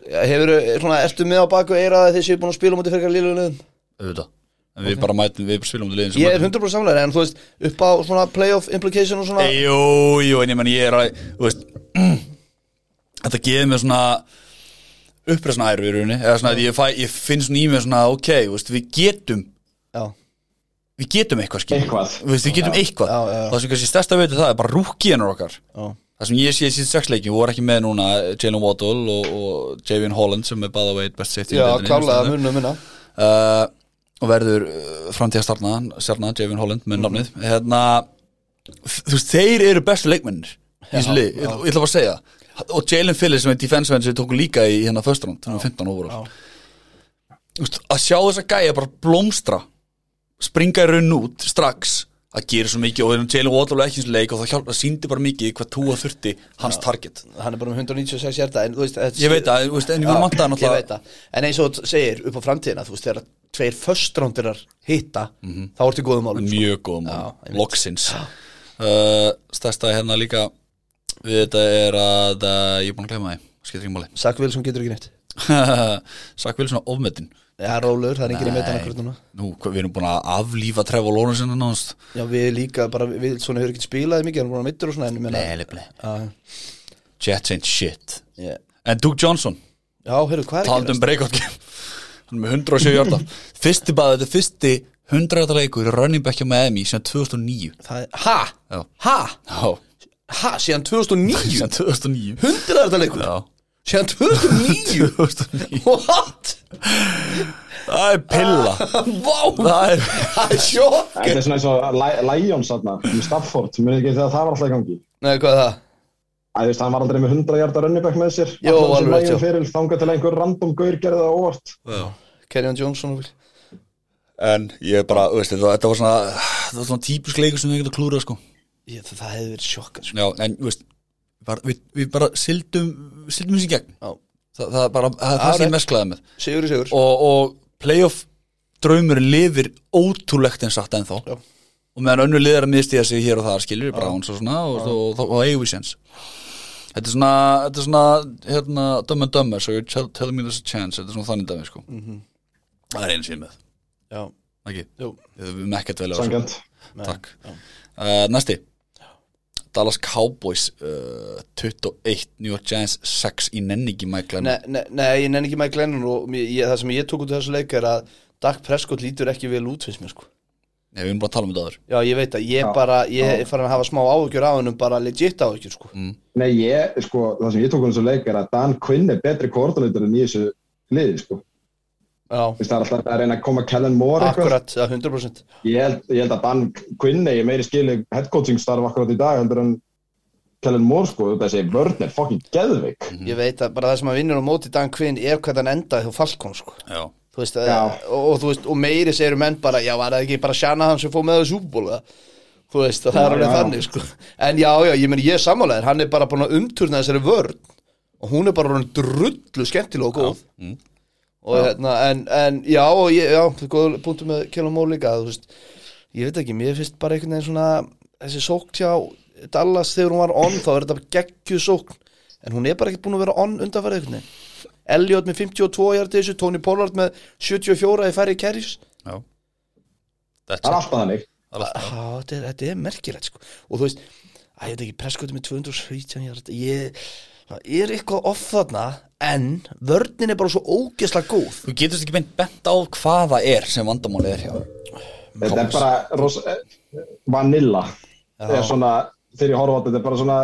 Hefur, svona, ertu með á baku eira að þeir séu búin að spila mútið fyrir lílu liðum? auðvitað, en við bara mætum, við bara spilum um liðin sem Ég er mætum. 100% samlega, en þú veist, upp á svona playoff implication og svona Eh, Jú, jú, en ég menn ég er að þú veist, Þetta gefur mér svona uppreisna æru í rauninni eða svona, ég, fæ, ég finn svona í mér svona ok, þú veist, við getum Já, við getum eitthvað skil Eitthvað. Þú veist, við getum eitthvað já, já, já. það sem kannski stærsta veitir það er bara rúkíðanur okkar já, það sem ég sé síðan sexleikin voru ekki með núna eh, Jalen Waddle og, og Javin Holland sem er bæða veit best safety í já deildinni, klálega, þú veist, munna, munna uh, og verður uh, framtíðastarnaðan, sérna, Javin Holland Mhm. með nafnið, hérna þú veist, þeir eru bestu leikmennir í þessu lið, ég, ég ætla bara að segja það. og Jalen Phillips sem er defense man sem við tókum líka í hérna first round, þannig 15 óvara að sjá þessa gæja bara blómstra springa í raun út strax það gerir svo mikið og þegar Jalen Waddle er ekki eins leik og það hjálpa, síndi bara mikið hvað túa þurfti hans target Hann er bara með 196 hjarta, en þú veist þetta- ég veit það, þú veist, en ég Já, mun vant að ég veit náttúrulega það En eins og þú segir, upp á framtíðina, þú veist, þegar tveir föstrándirar hitta, þá ertu í góðum málum sko. Mhm. mjög góðum Já, og einmitt. loksins uh, stærsta hérna líka við þetta er að uh, ég er búin að glemma því, skiptir ekki sko. Zach Wilson getur ekki neitt máli Sakk Vilsson á ofmetin Já, rólur, það er enginn í metan akkur núna nú, hvað, við erum búin að aflífa Trevor Lawrence hérna en annars Já, við líka, bara, við svona hefur ekki spilaði mikið, hann er bara mittur og svona, en ég meina Nei, nei, nei. Já, Jets ain't shit yeah. en Duke Johnson, Já, heyrðu, hvað er talandum breakout game hann er með 107 hjarta fyrsti bæði, þetta er fyrsti 100 hjarta leikur í running back hjá Miami sem 2009 Það er, ha, Já. ha, já, ha, síðan 2009 sem 2009 Hundrað þetta leikur já, Síðan 2009 2009 What? það er pilla Vá, það er það er sjokk Þetta er svona eins og Li- Lions þarna, með Stafford, munið ekki þegar það var alltaf í gangi. Nei, hvað er það? Æ, þú veist, hann var aldrei með 100 hjarta runnibæk með sér. Jó, alveg rétt, rétt. já. Fyrir, þangað til einhver random gaur gerði það óvart. Kerryon Johnson og vil en ég er bara, veist, þetta, þetta var svona þetta var svona típisk leikur sem við getum klúrað sko. Ég, það, það hefði verið sjokk sko. já, en veist, bara, við, við bara sildum sildum þessi í gegn Já. Þa, það er bara, það er það sem ég mest glæði með Sigur í sigur og, og playoff draumurinn lifir ótrúlegt en satt ennþá Já. og meðan önnur liðar að miðstíða sig hér og það skilur bara hans og svona og, og, og, og eigum við séns þetta er svona, þetta er svona hérna, dumb and dumber, so you're tell- telling me there's a chance þetta er svona þannig dæmi sko það er eins ég með, Já, ekki jú við erum ekkert sko. vel á þessu. Sangjönd. Takk uh, Næsti Dallas Cowboys uh, 21, New York Giants 6 í nenningi Michael Nei, nei, nei, ég nenni ekki Mike Lennon og mér- ég, það sem ég tók út af þessu leik er að Dak Prescott lítur ekki vel út finnst mér sko Nei, við erum bara að tala um þetta aður Já, ég veit að ég Já. bara, ég Já. er farin að hafa smá áhugjur á hennum bara legit áhugjur sko Nei, ég, sko, það sem ég tók um þessu leik er að Dan Quinn er betri koordinator en í þessu liði, sko. Já, Þú veist, það er alltaf að reyna að koma Kellen Moore akkurat, já, 100% Ég held, ég held að Dan Quinn eigi meiri skilu headcoaching starf akkurat í dag heldur en Kellen Moore sko, þetta þessi vörn er fucking geðvik Ég veit að bara það sem að vinnur á móti Dan Quinn er hvað hann endaði hjá Falcon sko. Já, Þú veist, að, Já. og, og, þú veist, og meiri segir menn bara, já, var það ekki bara Shanahan sem fór með það súbúla þú veist, að það er Já, alveg já. þannig sko. en já, já, ég meni, ég er sammálaður hann er bara búin að umturna þessari vörn og hún er bara orðin drullu skemmtilega og góð mm. og hérna, en, en já, og ég, já, góð punktum með Kjell og Mór líka, þú veist ég veit ekki, mér finnst bara einhvern veginn svona þessi sókn hjá Dallas þegar hún var on, þá er þetta bara geggjuð sókn en hún er bara ekkert búin að vera on undanfærið einhvern veginn Elliot með 52 hjarti þessu, Tony Pollard með 74 í færri kerris já Það er That's it, alltaf þannig alltaf Á, þetta, er, þetta er merkilegt sko og þú veist, að ég veit ekki preskutum með 217 hjarti ég, það er eitthvað off þarna en vörnin er bara svo ógeðslega góð Þú getust ekki beint bent á hvað það er sem vandamálið er hjá Þetta er bara ros, eh, vanilla er svona, þegar ég horfa á þetta þetta er bara svona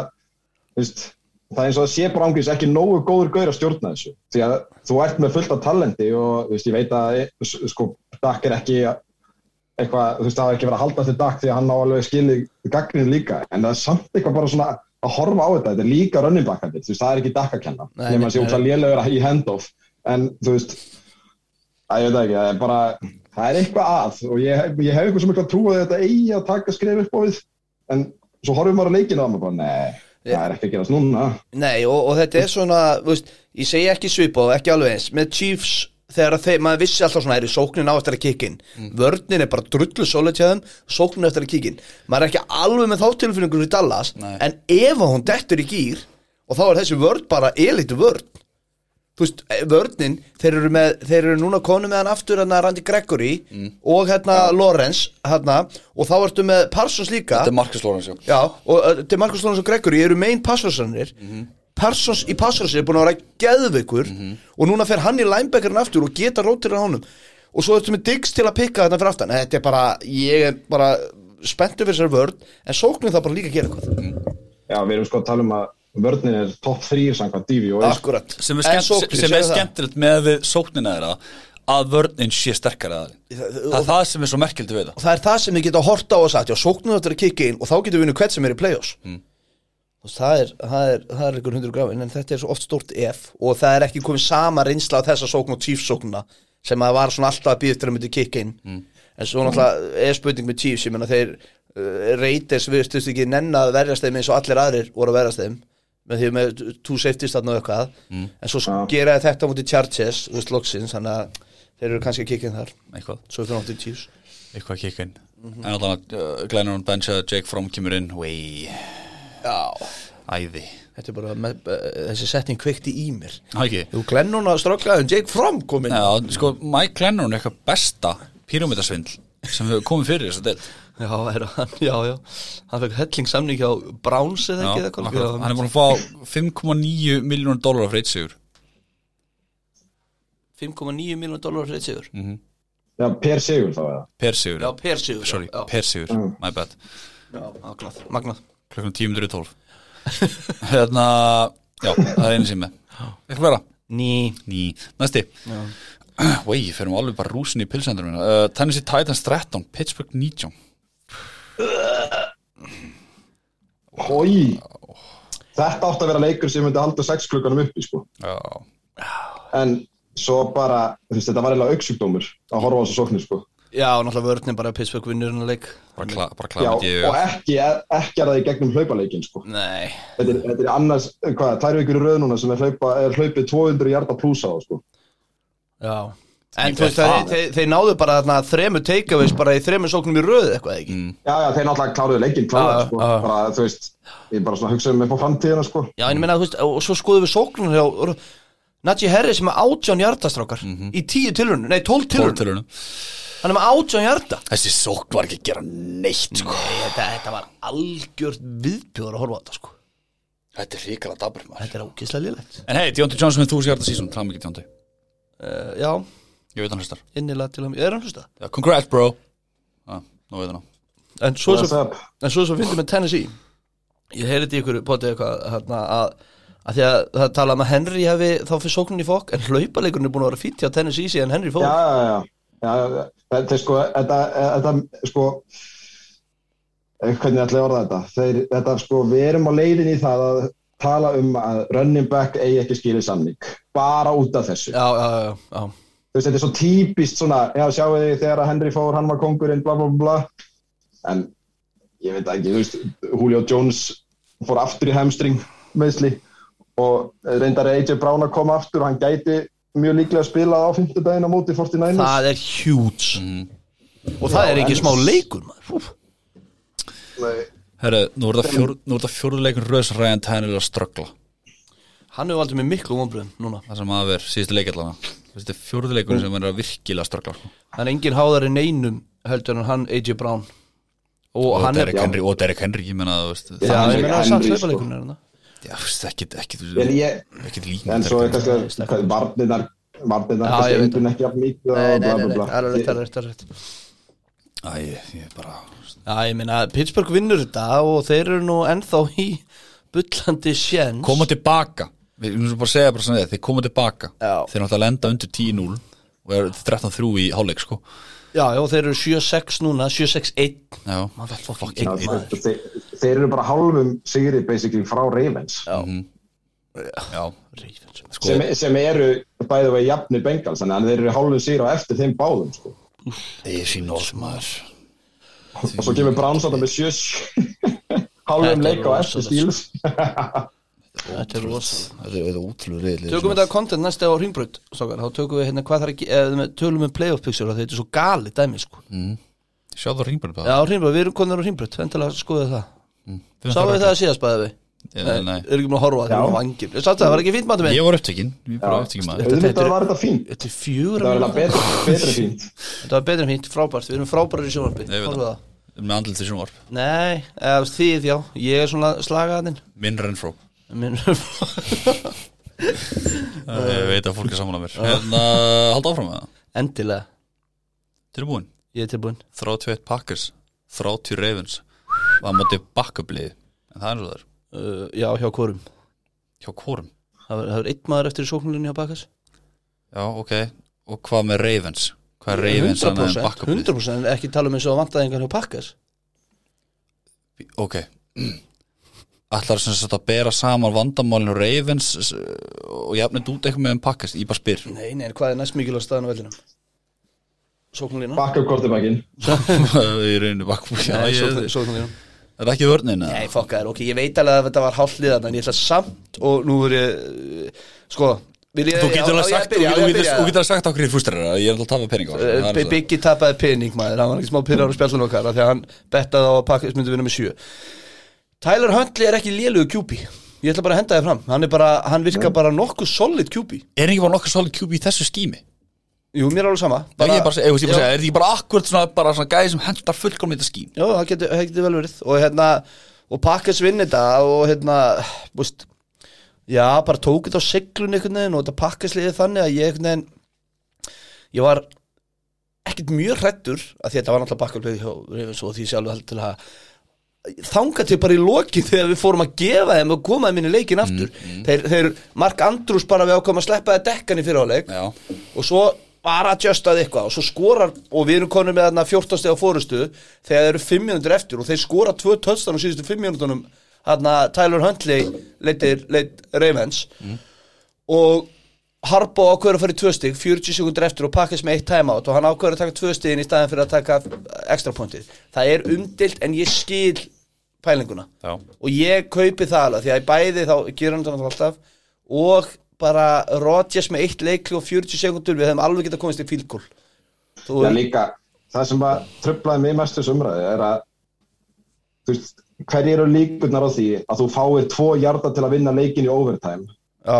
veist, það er eins og það sé bara ángriðs ekki nógu góður gaur að stjórna þessu því að þú ert með fullt af talenti og þú veist, ég veit að eh, s- sko, Dak er ekki eitthvað, þú veist, það er ekki verið að halda til Dak því að hann á alveg skilið gagninu líka en það er samt eitthvað bara svona að horfa á þetta þetta er líka running back handið, þú veist, það er ekki Dak að kenna Nei, nema að sé nei. útla lélegur í handoff en þú veist, að ég veit það ekki, það er bara það er eitthvað að og ég, ég hef eitthvað sem eitthvað trú að þetta eigi að taka skref upp á við en svo horfum maður að leikina og maður bara, nei, það er ekki að gerast núna Nei, og, og þetta er svona, þú veist, ég segi ekki svipa og ekki alveg eins, með Chiefs þegar að þeir, maður vissi alltaf svona, er sóknin á eftir að kikkin, mm. vörnin er bara drullu svolít hjá þeim, sóknin á eftir að kikkin maður er ekki alveg með þá tilfinningur í Dallas, Nei. en ef að hún dettur í gýr, og þá er þessi vörn bara elitu vörn þú veist, eh, vörnin, þeir eru, með, þeir eru núna konu með hann aftur hérna Randy Gregory Mm. og hérna Lawrence hérna, og þá ertu með Parsons líka Þetta er Marcus Lawrence, já Já, og uh, til Markus Lónas og Gregory eru megin passvarsanir Parsons í passvarsanir er búin að vera geðveikur og núna fer hann í linebackerin aftur og geta rótir hann honum og svo ertu með Diggs til að pikka þetta fyrir aftan þetta er bara, ég er bara spenntur fyrir þessari vörn en sóknum það bara líka að gera eitthvað já, við erum sko að tala um að vörnin er topp 3 samkvæmt DV og eins akkurat, Sem er, skemmt, sem er skemmtilegt með við sóknina þeirra að vörnin sé sterkari aðeins Það er það sem er svo merkildi við það og það er það sem þið geta að horta á og sagt já, sóknum þetta er að kikka inn og þá getum við unni hvert sem er í play-offs Þú veist, það er, það er, það er einhver hundur grafin en þetta er svo oft stórt ef og það er ekki komið sama reynsla á þessa sókn og tífsóknuna sem að var svona alltaf að býða eftir að myndi kikka inn en svo náttúrulega er spurning með tífs ég menna þeir uh, reytis við styrst ekki nenn að verjast þeim eins og allir aðrir voru að verjast þeim með því með two safeties þarna og eitthvað en svo Já. gera þeir þetta á múti Chargers þú veist loksins þannig að þeir eru kannski að kikka inn þar Eitthvað, svo fyrir náttúrulega tífs eitthvað kikinn mm -hmm. En alltaf uh, Glennon Benja, Jake Fromm kemur inn Wey, Já, æði Þetta er bara með, uh, þessi setning kveikti í mér Það ekki Þú glennun að strögglaðum um Jake Fromm kom inn Já, sko, Mike Glennon er eitthvað besta píramítasvindl sem hefur komið fyrir þess að del Já, er, hann, já, já Hann fekk helling samning hjá Browns eða ekki eða hvað? Já, Hann er búin að fá 5,9 miljónur dólar af reitsugur 5,9 miljón dólar fyrir sigur Mhm. já, per sigur þá eða per sigur Já, per sigur sorry, já, per sigur, my bad já, magnað, magnað klukkan 10.12 hérna, já, það er einu sem með eitthvað vera, Ný ný, næsti vei, ferum alveg bara rúsin í pilsendur minna uh, Tennessee Titans 13, Pittsburgh 19 Hói, þetta átti að vera leikur sem myndi halda 6 klukkanum uppi sko. já, en svo bara, þú veist, þetta var eiginlega auksjúkdómur að horfa á þessu sóknir sko. Já, náttúrulega vörnir bara Pittsburgh vinnur hennar leik bara, kla, bara já, klamið ég og ekki, ekki er það í gegnum hlaupaleikin sko. Nei þetta, er, þetta er annars, hvað, tvær vikur í röð núna sem er, hlaupa, er hlaupið 200 hjarta pluss á það, sko. Já En Ég þú veist, fer þeir, það. þeir, þeir náðu bara þarna þremur takeaways bara í þremur sóknum í röð eitthvað ekki Já, já, þeir náttúrulega kláruðu leikinn klára, Já, sko, já. bara, þú veist, ég bara svona hugsaðum upp á framtíðina, sko. Já, en ég meina, þú veist, og svo skoðum við sóknum hjá Najee Harris er með átján hjartastrákar í tíu tilrunum, nei, Mhm. tólf tilrunum Tóltölunum. hann er með átján hjarta þessi sókn var ekki að gera neitt sko. Nei, þetta, þetta var algjört viðbjóður að horfa á þetta, sko þetta er ríkala dabur maður Þetta er ógeðslega lélegt en hei, Djóndi Johnson með 1000 hjarta sísón, klamið ekki Djóndi uh, Já, ég veit hann hlustar, innilega til hann, ég er hann hlusta Já, congrats bro já, nú veit hann á. En svo What's svo, up? en svo, svo fyndum við Tennessee Ég heyrði í ykkur potið eitthvað hérna, að, að því að það talaði um að Henry hefði þá fyrir sóknum í fokk en hlaupaleikurinn er búin að vera fýtt hjá Tennessee síðan Henry fór Já, já, já, já, já, þetta er sko, þetta, þetta, sko, eh, hvernig ætla ég að orða þetta Þeir, þetta sko, við erum á leiðin í það að tala um að running back eigi ekki skilið samning bara út af þessu Já, já, já, já. þú veist, þetta er svo típist svona, já, sjáu þið þegar að Henry fór, hann var kongurinn, bla, bla, bla en ég veit það ekki, þú veist Julio Jones fór aftur í hamstring meðsli og reyndar AJ Brown að koma aftur og hann gæti mjög líklega að spila á fimmtudaginn á móti 49ers Það er huge Og það Já, er ekki en- smá leikur maður Úf. Nei. Herru, nú er það fjór- nú er það fjóruleikur röðs Ryan Tannehill að ströggla Hann hefur aldrei með miklu vonbröðum núna Það sem að vera síðustu leikallana Þetta er fjóruleikur sem er að virkilega sko. ströggla Það er engin háðar en einum heldur en hann AJ Brown Og Og hann er Derek Henry, og Derek Henry, ég menna, þú veist Já, Hann ég er meina Henry, að samt hérna. sko. hlaupaleikurinn er hann Já, þú veist, ekkit, ekkit En, ég, Ekkit líka en svo er kannski hvað, varnirnar varnirnar Já, kannski ég veit einhvern ekki af mikið Nei, nei, og bla, nei, bla, nei, bla það er alveg- það er alveg- það er alveg Æ, ég ég bara Já, ég meina, Pittsburgh vinnur þetta og þeir eru nú ennþá í bullandi sjens Koma tilbaka Við erum svo bara að segja bara svona þetta, þeir koma tilbaka Já. Þeir náttúrulega lenda undir 10-0 og er 13-3 í hálfleik, sko Já, já, þeir eru 7-6 núna, 7-6-1 Já, Já, fucking maður. idiot. þeir, þeir eru bara hálfum sigri basically frá Ravens Já, Ravens Mhm. sko sem, sem eru bæði vegi jafni Bengals þannig að þeir eru hálfum sigri á eftir þeim báðum sko. Þeir sín orðmaður og svo kemur Browns átta með sjös Þetta er hálfum leik á rosalegt. eftir sko. stíls Þetta er rosalega Þetta er útlur reyðli Tökum við þetta content næst eða á Ringbraut strákar, þá tökum við hérna hvað þarf ekki eða tölum við playoff pixel þetta er svo gali dæmi sko Sjá það ringbjörn Já, Ringbraut, við erum konur á Ringbraut, endilega skoðu það Sáu við það síðast bæði við? það? um Nei, Erum ekki með að horfa að það Já. er vangir Sátt það, það var ekki fínt matur minn ég var upptekinn Ég var Já. upptekinn maður þetta er- auðvitað var þetta fínt Þetta er fjögur það var þetta betra, betra fínt Þetta var betra en fínt, frábært, við erum frábærir í sjónvarpi Ég veit Horfðu það. Með andlið til sjónvarp það. Nei, eða þið, já, ég er svona slagaðinn Minn Renfró Minn Eh, Ég veit að fólk er saman að mér En halda áfram með það Endilega, Tilbúin ég er tilbúinn 31 Packers 30 Ravens Það var mótið bakkablið En það er eins og það er uh, Já, hjá hvorum Hjá hvorum Það verður- það verður einn maður eftir í sóknulinni hjá Bakas Já, ok Og hvað með Ravens? Hvað er Ravens annað en 100%, bakkablið? 100% ekki tala um eins og að vantaði einhvern hjá Bakas Ok Ætlar sem sagt að bera saman vandamálinu Ravens s- og jafnir út eitthvað með um Packers Ég bara spyr Nei, nei, en hvað er næst mikilvægt staðan á vellinum? Sóknulína? baka upp kortibakinn Í rauninu bakkablið Já, ég- Sóknulína Það er ekki vörnin eða? Nei, fokka þér, ok, ég veit alveg að þetta var hálfliðan en ég ætla samt og nú er ég uh, sko, vil ég Þú getur já, alveg já, sagt, ég byrja, þú já, ég getur- byrja. þú getur alveg sagt okkur í fústrar að ég er alltaf að tafa pening á þessu. Það Eh, er Bi- svo. Biggi tapaði pening maður, hann var ekki smá pyrrar á spjallinu okkar af því að hann bettaði á að Packers myndi vinna með sjö Tyler Huntley er ekki lélugu QB ég ætla bara að henda þér fram hann, er bara, hann virkar bara nokkuð solid QB Er ekki bara nokkuð solid QB í þessu skími? jú, mér er alveg sama Er ekki bara, ég, ég, bara já, segja, er ekki bara akkurat svona, bara svona gæði sem hendar fullkomlega í þetta skím? já, það getur geti vel verið og hérna, og Packers vinni þetta og hérna, búst já, bara tók þetta á seglun einhvern veginn og þetta Packers liðið þannig að ég einhvern veginn ég var ekkert mjög hrættur að því að þetta var náttúrulega bakkalblöð hjá Ravens og því sjálf held til að þanga til bara í lokin þegar við fórum að gefa þeim og koma þeim inn í leikin aftur Þeir, þeir Mark Andrús bara við ákvæm að sleppa það dekkan í fyrirháleik Já. og svo var að justað eitthvað og svo skorar og við erum konum með þarna 14 steg á fórustu þegar þeir eru 5 minútur eftir og þeir skora tvö tötstan á síðustu 5 minútunum þarna Tyler Huntley leitir, leit Ravens og Harbo ákveður að fara í tvö stig 40 sekundur eftir og pakkast með eitt timeout og hann ákveður að taka tvö stigin í staðin fyrir að taka extra pointið. Það er umdilt en ég skil pælinguna Já. og ég kaupi það alveg því að í bæði þá gerur hann þannig alltaf og bara Rodgers með eitt leikli og 40 sekundur við hefum alveg getað komist í fílgól Þú Já, líka, það sem að tröflaði mig mestu sumraði er að þú veist, hverju eru líkurnar á því að þú fáir tvo hjarta til að vinna leikin í overtime já,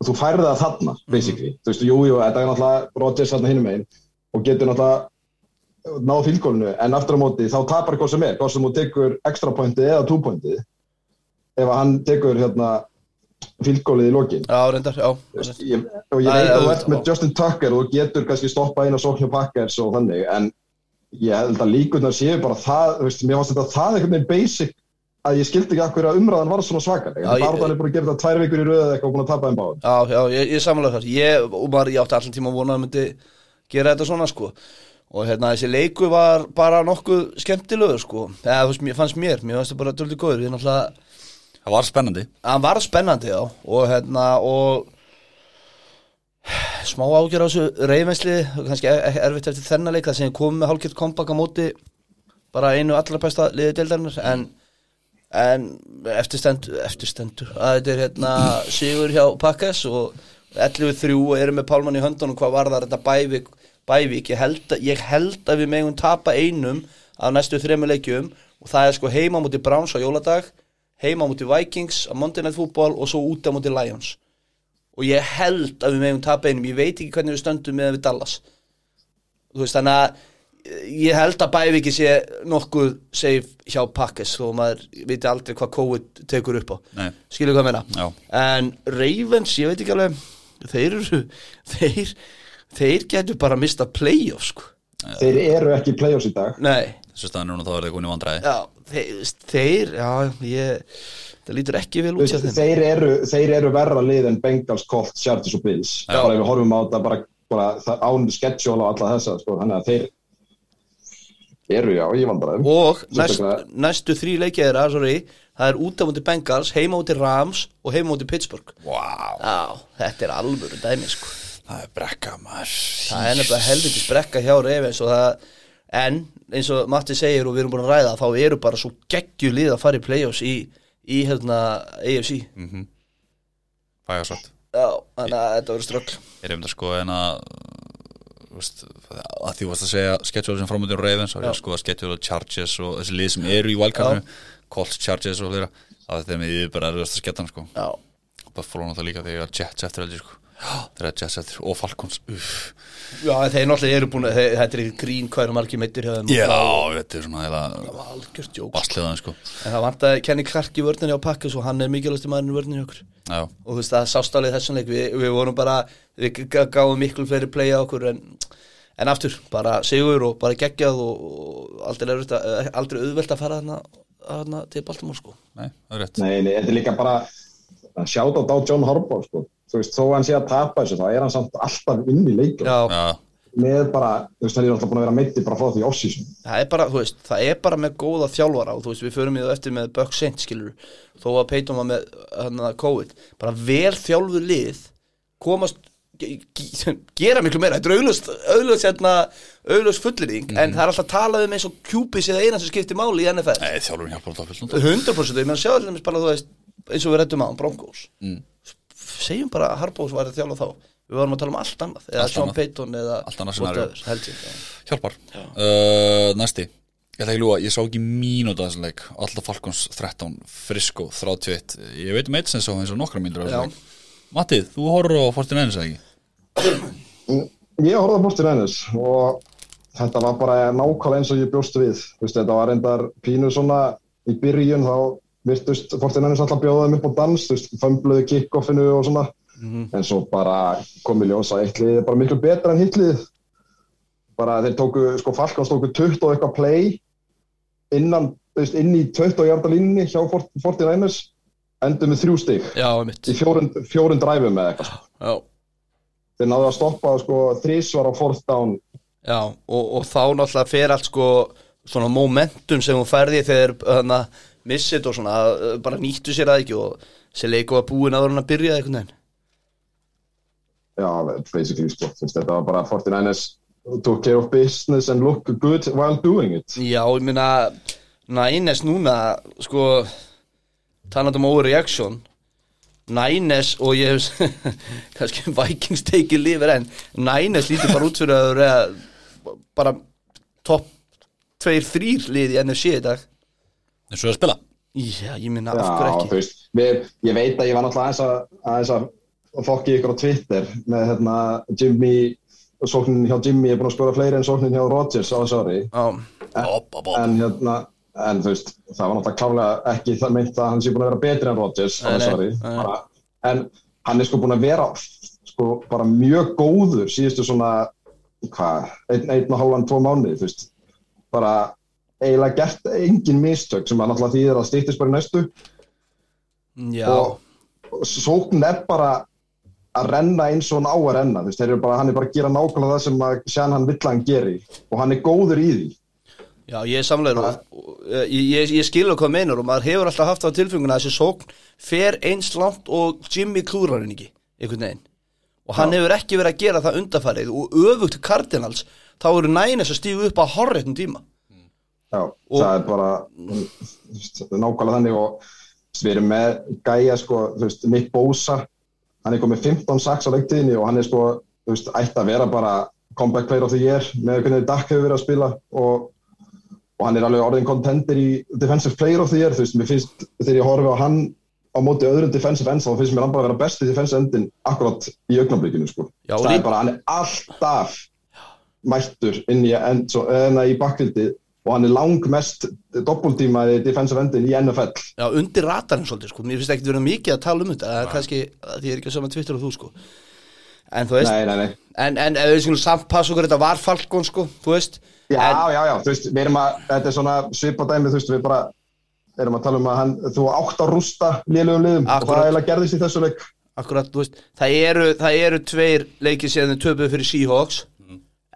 og þú færði það þarna, basically þú veist, jú, jú, þetta er náttúrulega Rodgers þarna hinum einn og getur náttúrulega náð fylgólinu, en aftur á móti þá tapar hvað sem er, hvað sem þú tekur extra pointið eða two pointið ef að hann tekur hérna fylgólið í lokin já, reyndar, já reyndar. ég, og ég Nei, veit að þú auðvitað, ert með já. Justin Tucker og þú getur kannski stoppað inn á sóknu Packers og þannig en ég held að líkurnar séu bara það, þú veist, mér fannst þetta það einhvern veginn basic að ég skildi ekki akkur að umræðan var svona Já, svakalega, ég- það var þannig búin að gera þetta tvær vikur í röðu eða eitthvað og búin að tapa þeim báðum Já, já, ég, ég samanlega þar Ég, og maður, ég átti allan tíma að vona að myndi gera þetta svona, sko og hérna þessi leiku var bara nokkuð skemmtilegur sko eða þú veist, mér fannst mér, mér fannst það bara döldu góður við náttúrulega Það var spennandi hann var spennandi já og hérna og smá ágjör á þessu reyfensli kannski e- e- erfitt eftir þennan leik það sem ég kom með hálfgjörð kompaka móti bara einu allra besta liðið deildarinnar en, en eftir stendur, eftir stendur að þetta er hérna sigur hjá Pakkas og 11-3 og eru með Pálmann í höndunum hvað var það þetta bævík, bævík. Ég, held, að- ég held að við megum tapa einum af næstu þremur leikjum og það er sko heima múti Browns á jóladag heima múti Vikings á Monday Night Football og svo úta múti Lions og ég held að við meðum tapa einum ég veit ekki hvernig við stöndum með við Dallas þú veist þannig að eh, ég held að Bæviki sé nokkuð safe hjá Pakkes þó maður viti aldrei hvað COVID tekur upp á Nei. skilur hvað ég Já. meina en Ravens, ég veit ekki alveg þeir eru þeir, þeir getur bara að mista playoff sko. Þeir eru ekki í play-offs í dag nei Þessu staðan núna þá er það komin í vandræði já, þeir, þeir já, ég, það lítur ekki vel Þú út hjá veist, þeim þeir, eru, þeir eru verra lið en Bengals, Colts, Chargers og Bills Já. bara ef við horfum á þetta bara, bara það- án schedule og alla þessa sko, þannig að þeir eru já, ég vandrar þeim og næst, Sérstaklega- næstu þrý leikja þeirra, sorry, það er út á múti Bengals, heima múti Rams og heima múti Pittsburgh. Vá, Já, þetta er alvöru dæmi, sko. það er brekka maður Það er nefnilega helviti brekka hjá Ravens og það, en eins og Matti segir og við erum búin að ræða, þá eru bara svo geggju lið að fara í play-offs í, í hérna AFC. Bæjarsvætt Já, þannig að þetta verður ströggl. Ég er um þetta sko en að þú veist, að því varst að segja schedule sem framöndin Ravens og ég sko að schedule og Chargers og þessi lið sem eru í valkarnu Colts, Chargers og fleira að þetta er með yfir bara erfiðast að skettan sko Já, Buffalo náttúrulega líka þegar ég var Jets eftir heldur sko þegar ég var Jets eftir og Falcons uff Já þeir náttúrulega eru búin að, þeir, þetta er í grín hvað eru margir meittir hjá þeim. Já, þetta er svona heila Algjört jók. basliðan sko En það vantaði Kenny Clark í vörðinni á pakkas og hann er mikilvægst í maðurinn í vörðinni hjá okkur. Já, og þú veist það sást alveg í þessum leik við, við vorum bara, við g- g- gáum miklu fleiri play á okkur en, en aftur bara sigur og bara geggjað og, og aldrei, erfitt að, eh, aldrei auðvelt að fara þarna, þarna til Baltimore sko nei, það er rétt Nei, nei, þetta er líka bara að sjáta á John Harbaugh sko. þú veist, þó að hann sé að tapa þessu þá er hann samt alltaf inn í leikum Já, Já, með bara, þú veist, hann er alltaf búin að vera meiti bara frá því offseason það er bara, þú veist, það er bara með góða þjálfara og þú veist, við förum í það eftir með Buck Saint, skilur, þó að peitum að með hana, COVID, bara vel þjálfu lið, komast ge- ge- gera miklu meira, þetta er auðlust auðlust, hérna, auðlust fullering en það er alltaf talað um eins og Cupis eða eina sem skiptir máli í NFL nei, þjálfurinn hjálpar alltaf fyrst 100% ég meðan sjá allir bara þú veist eins og við rættum á hann, Broncos Mm. segjum bara að Harbós var að þjála þá við varum að tala um allt annað eða Allt Sean annað. Payton eða Allt annað scenario. whatever, held ég já. Hjálpar uh, Næsti Ég ætla ekki að ljúga, ég sá ekki mínúta þessan leik Alltaf Falcons 13, Frisco 31 Ég veit um eitt sem sá eins og nokkra mínútur Já. þessan leik Matti, þú horfður á 49ers eða ekki? Ég horfði að bóstin ennus og þetta var bara nákvæmlega eins og ég bjóst við. Þú Veist, þetta var reyndar pínu svona í byrjun þá virtust Fortin Ennus alltaf bjóðaðum upp á dans, þú veist, fömbluðu kickoffinu og svona. En svo bara kom í ljós að eitt liðið er bara miklu betra en hitt liðið. Bara þeir tóku, sko Falkons tóku 20 og eitthvað play innan, þú veist, inn í 20 hjartalínni hjá Fortin Ennus, endur með þrjú stig já, mitt í fjórun, fjórun dræfum eða eitthvað. já, Þeir náðu að stoppa sko þrísvar á fourth down já, og, og þá náttúrulega fer allt sko svona momentum sem hún færði þegar hana, missið og svona eh, bara nýttu sér það ekki og sér leiku að búin áður hann að byrja einhvern veginn já, basically sko, þú veist, þetta var bara 49ers took care of business and look good while doing it Já, ég meina Nænes núna, sko talandum overreaction Nænes og ég hef kannski Vikings teikið lifir en Nænes lítur bara út fyrir að vera bara topp 2-3 lið í NFC í dag Eins og það spila Já, ég meina af já, hverju þú ekki veist, við, ég veit að ég var náttúrulega aðeins að, aðeins að fokki ykkur á Twitter með hérna Jimmy sóknin hjá Jimmy er búin að skora fleiri en sóknin hjá Rodgers á þessu ári Já, Bop, bop, eh, bop en hérna en þú veist, það var náttúrulega klálega ekki það meint að hann sé búin að vera betri en Rodgers Nei, nei, sorry, nei. bara, en hann er sko búin að vera sko bara mjög góður síðustu svona hvað, einn, einn og halvan, tvo mánuði þú veist, bara eiginlega gert engin mistök sem að náttúrulega þýðir að stýttist bara í næstu já og sókn er bara að renna eins og hann á að renna þú veist, þeir eru bara, hann er bara að gera nákvæmlega það sem að Sjan hann vill að hann geri og hann er góður í því Já, ég er samlegur og, og ég, ég, ég skilur hvað meinar og maður hefur alltaf haft það á tilfenguna að þessi sókn fer eins langt og Jimmy klúrar henni ekki, einhvern veginn og hann hefur ekki verið að gera það undarfærið og öfugt til Cardinals þá eru nænes að stígu upp á horretnum tíma Já, það er bara þú veist, það er nákvæmlega þannig og þú veist, við erum með gæja sko, þú veist, Nick Bosa hann er komið 15 saks á leiktiðinni og hann er sko, þú veist, ætti að vera bara comeback player of the year með hvernig Dak hefur verið að spila og, og hann er alveg orðin contender í defensive player of the year, þú veist, mér finnst þegar ég horfi á hann á móti öðrum defensive ends þá finnst mér hann bara vera besti defensive endin akkurat í augnablikinu sko Já, og það er líka- bara, hann er alltaf mættur inn í, end, svo, enna í bakkvildi og hann er langmest doppeltímaði defensive endin í NFL Já, undir ratarinn svolítið sko, mér finnst ekki verið mikið að tala um þetta það er kannski, að því ég er ekki að sama Twitter og þú sko en þú veist, Nei, nei, nei en, en ef við skulum samt passa okkur þetta var Falkon sko, þú veist Já, en, já, já, þú veist, við erum að þetta er svona svipadæmi, þú veist, við bara erum að tala um að hann, þú átt að rústa lélugum liðum og Akkurat. það eiginlega gerðist í þessu leik akkurat, þú veist, það eru, það eru tveir leikið síðan þeir töpuðu fyrir Seahawks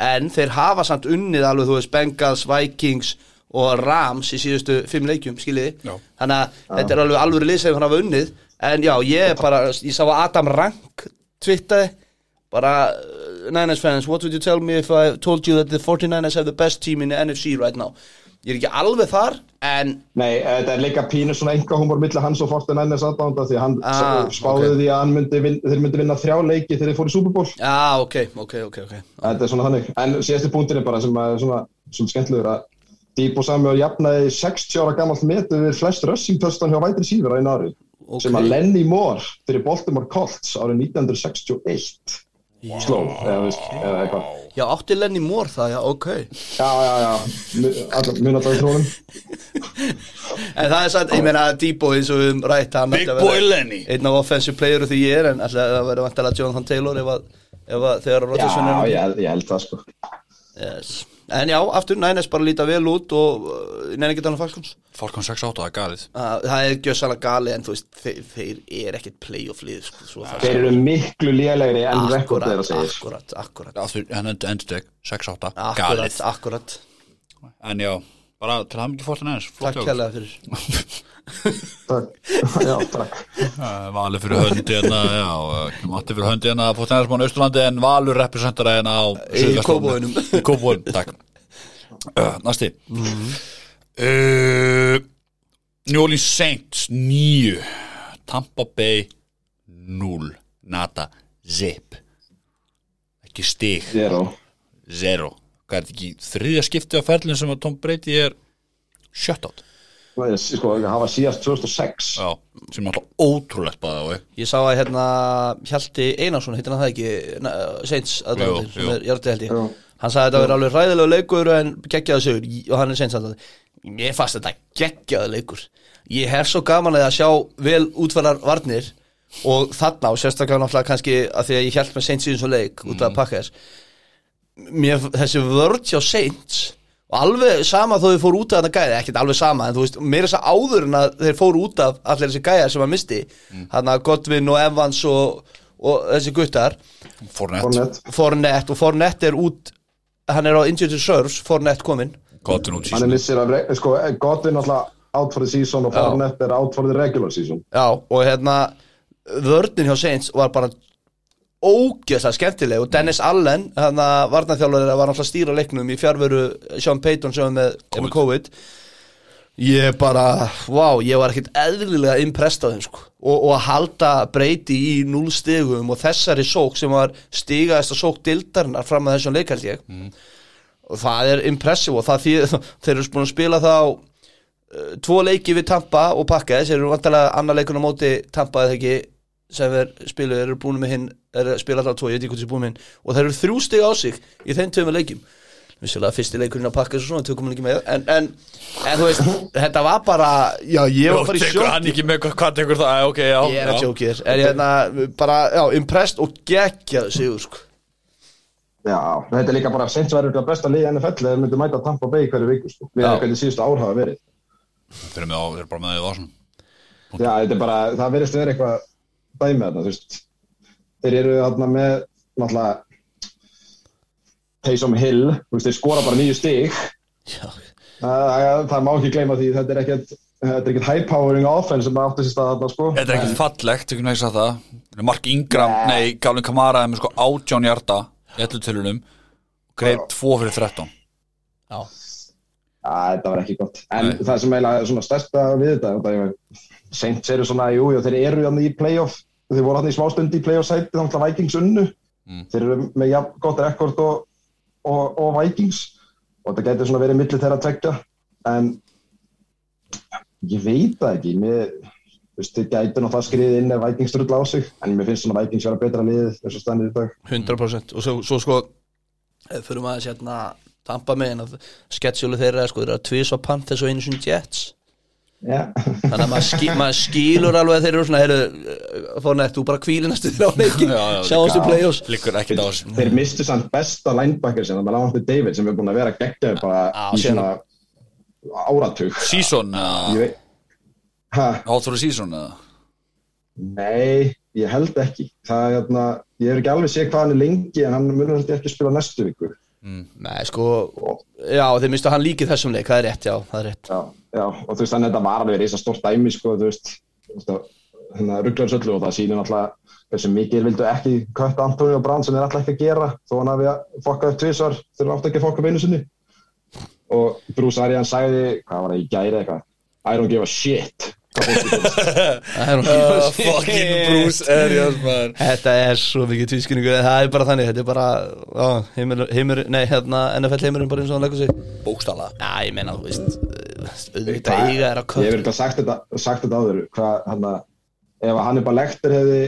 en þeir hafa samt unnið alveg, þú veist, Bengals, Vikings og Rams í síðustu fimm leikjum, skiljiði, Já. þannig að þetta er alveg alveg leysið hann hafa unnið en já, ég er bara, ég sá að Adam Rank twittaði bara uh, Niners fans, what would you tell me if I told you that the 49ers have the best team in the NFC right now ég er ekki alveg þar, en Nei, eh, þetta er líka pínu svona enga humor milli hans og Fortin Ennis aðdánda því að hann Ah, spáði ok. því að hann myndi vin, þeir myndi vinna þrjá leiki þegar þeir fóru í Super Bowl já, ah, ok, ok, ok, ok Þetta er svona þannig, en síðasti punktin er bara sem er svona, svona skemmtilegur að Deep og Samuel jafnaði 60 ára gamalt metu við flest rushing touchdown hjá vætri sífur á einu ári Ok. sem að Lenny Moore fyrir Baltimore Colts árið 1961 sló, eða, þú veist, eða eitthvað já, átti Lenny Moore það, já, ok Já, já, já, Mu- alla- mun alltaf í trónum En það er satt, ég meina Debo eins og við höfum rætt hann Big ætti að boy vera Lenny Einn af offensive player því ég er En alltaf það verður vantilega Jonathan Taylor Ef, að, ef að þegar Já, Rodgersson er ég, held- ég held það sko yes. En já, aftur Nænes bara líta vel út Og uh, neina ekki þannig Falkons Falcon 6-8, það er galið Ah, Það er gjössalega gali En þú veist, þeir, þeir er ekkit playoff lið sko, svo það- Þeir eru miklu lélegri enn rekord þeirra segir akkurat, akkurat Aftur, hann endur endur 6-8, galið Akkurat, akkurat En já, bara um til það mikið Falcon aðeins Takk hérlega fyrir Takk, já, takk Uh, Valur fyrir höndi hérna, já, uh, Matti fyrir höndi hérna, fóttennarsmann Östurlandi en Valur representara hérna á Í Kópavoginum. Í Kópavóinum, takk. Uh, næsti. uh, New Orleans Saints 9, Tampa Bay 0, nada, zip. Ekki stig, Zero zero. Hvað er þetta ekki þriðja skipti á ferlinn sem að Tom Brady er shutout? Það er, Sko, hafa síðast 2006 Já, sem er alltaf ótrúlegt bæða á þau. Ég sá að hérna Hjalti Einarsson, heitir hann það ekki na- Seins aðdóndi, Jú, sem jú. er Hjalti held ég Jú. Hann sagði að þetta verið alveg hræðilega leikur en geggjaðu sigur Í- og hann er Seins aðdóndi Mér fannst þetta geggjaðu leikur Ég hef svo gaman að því að sjá vel útfærar varnir og þarna og sérstaklega náttúrulega kannski að því að ég hjælt með Seins í þessu leik út af pakkaðis mér, þessi vörð hjá Saints og alveg sama þó þau fóru út af þetta gæði ekkert alveg sama, en þú veist, meira þess að áður en að þeir fóru út af allir þessi gæja sem að misti mm. hann að Godwin og Evans og, og þessi guttar Fornett, Fornett, Fornett og Fornett er út hann er á Injured Reserves, Fornett kominn Cotton og hann er Cheese. missir af, re- sko, Godwin alltaf out for the season og Já. Fornett er out for the regular season Já, og hérna vörðin hjá Saints var bara ógeðslega skemmtileg og Dennis Allen, hann að varnarþjálfur var náttúrulega að stýra leiknum í fjárveru Sean Payton sem er með er með COVID ég bara, vá, ég var ekkert eðlilega impressed á þeim sko og, og að halda breyti í núl stigum og þessari sók sem var stigaðist að sók dildarinnar fram að þessum leik held ég og það er impressive og það því þeir eru búin að spila það á eh, tvo leiki við Tampa og pakka þeir eru vantarlega annar leikun á móti Tampa eða ekki sem er spiluð, þeir eru búin með hinn er að spila alltaf tvo, ég veit ekki hvað þeir eru búin með hinn og þeir eru þrjú stig á sig í þeim tveimur leikjum vissulega fyrsti leikurinn að pakka þessu svona tökum hann ekki með en, en, en þú veist, þetta var bara já, ég var bara í tekur sjokk hann ekki með hvað, hvað tekur það, Æ, ok, já ég er að já. sjókir, er ég hérna bara, já, impressed og geggjað sigur sko Já, þetta er líka bara Saints verður örugglega besta liðið en fell eða myndi mæta Tampa Bay hverju viku sko. við erum hvernig síðustu ár hafa verið fyrir mig á, þeir eru bara með því það var svona Já, þetta er bara, það verðist að vera eitthvað dæmi þarna, þú veist þeir eru þarna með náttúrulega Taysom Hill, þú veist, þeir skora bara nýju stig Já. það, það- það má ekki gleyma því þetta er ekkert þetta er ekkert high powering offense sem átti sér stað þarna sko Þetta er ekkert fallegt, ekki nægis að það Þetta er Mark Ingram, nei, Gálin Kamara er með sko átján hjarta í ellu tölunum greif 2 fyrir 13 Já, þetta var ekki gott. En Nei. það sem eiginlega svona stærsta við þetta, þetta Saints eru svona, jú, jú, þeir eru hann í playoff, þeir voru hann í smástund í playoff sæti, þannig að Vikings unnu. Þeir eru með ja, gott rekord og, og, og Vikings og þetta getur svona verið millir þeirra tvekja. En ég veit það ekki, mér, þú veist, þeir gætu náttúrulega skriðið inn ef Vikings drull á sig, en mér finnst svona Vikings vera betra liðið eins og stannir í dag. 100% og svo, svo sko eh, fyrir maður að hérna tampa með en að sketsjólu þeirra sko, þeir eru að tvísa Panthers og einu sinni Jets Já, þannig að maður, skil, maður skilur alveg að þeir eru svona heyrðu, eh, fá nett, þú bara kvíli næstu þér á leikin Já, já, sjáumst í já. play-offs Liggur ekkert á þessu þeir mistu samt besta linebacker sem það með Lavante David sem er búin að vera geggjaður bara Á, í síðan- svona áratug Season, ég eða? veit ha, Hátþóru season eða? nei, ég held ekki það er hérna, ég hef ekki alveg séð hvað hann er lengi en hann munur held ég ekki spila næstu viku Nei, sko, já, þeir mistu hann líki þessum leik, það er rétt, já, það er rétt já, já, og þú veist þannig að þetta var alveg reysa stórt dæmi sko, þú veist þannig að rugglaður söllu og það sýnir náttúrulega hversu mikið þeir vildu ekki kött Antonio Brann sem er alltaf ekki að gera þó hann hafi að fokka upp tvisvar þeir eru átt ekki að fokka upp einu sinni og Bruce Arians sagði, hvað var það í gæri eitthvað I don't give a shit Það er nú- Uh, fucking Bruce Arians maður Þetta er svo mikið tvískinningu Það er bara þannig, þetta er bara á, heimur, heimur, Nei, hérna NFL heimurinn bara eins og hann leggur sig Bókstala Já, ég meina, þú veist eh, Þetta Hvað- eiga er að Ég hef köpa verið að sagt þetta, sagt þetta áður hvað hann ef hann er bara lektur hefði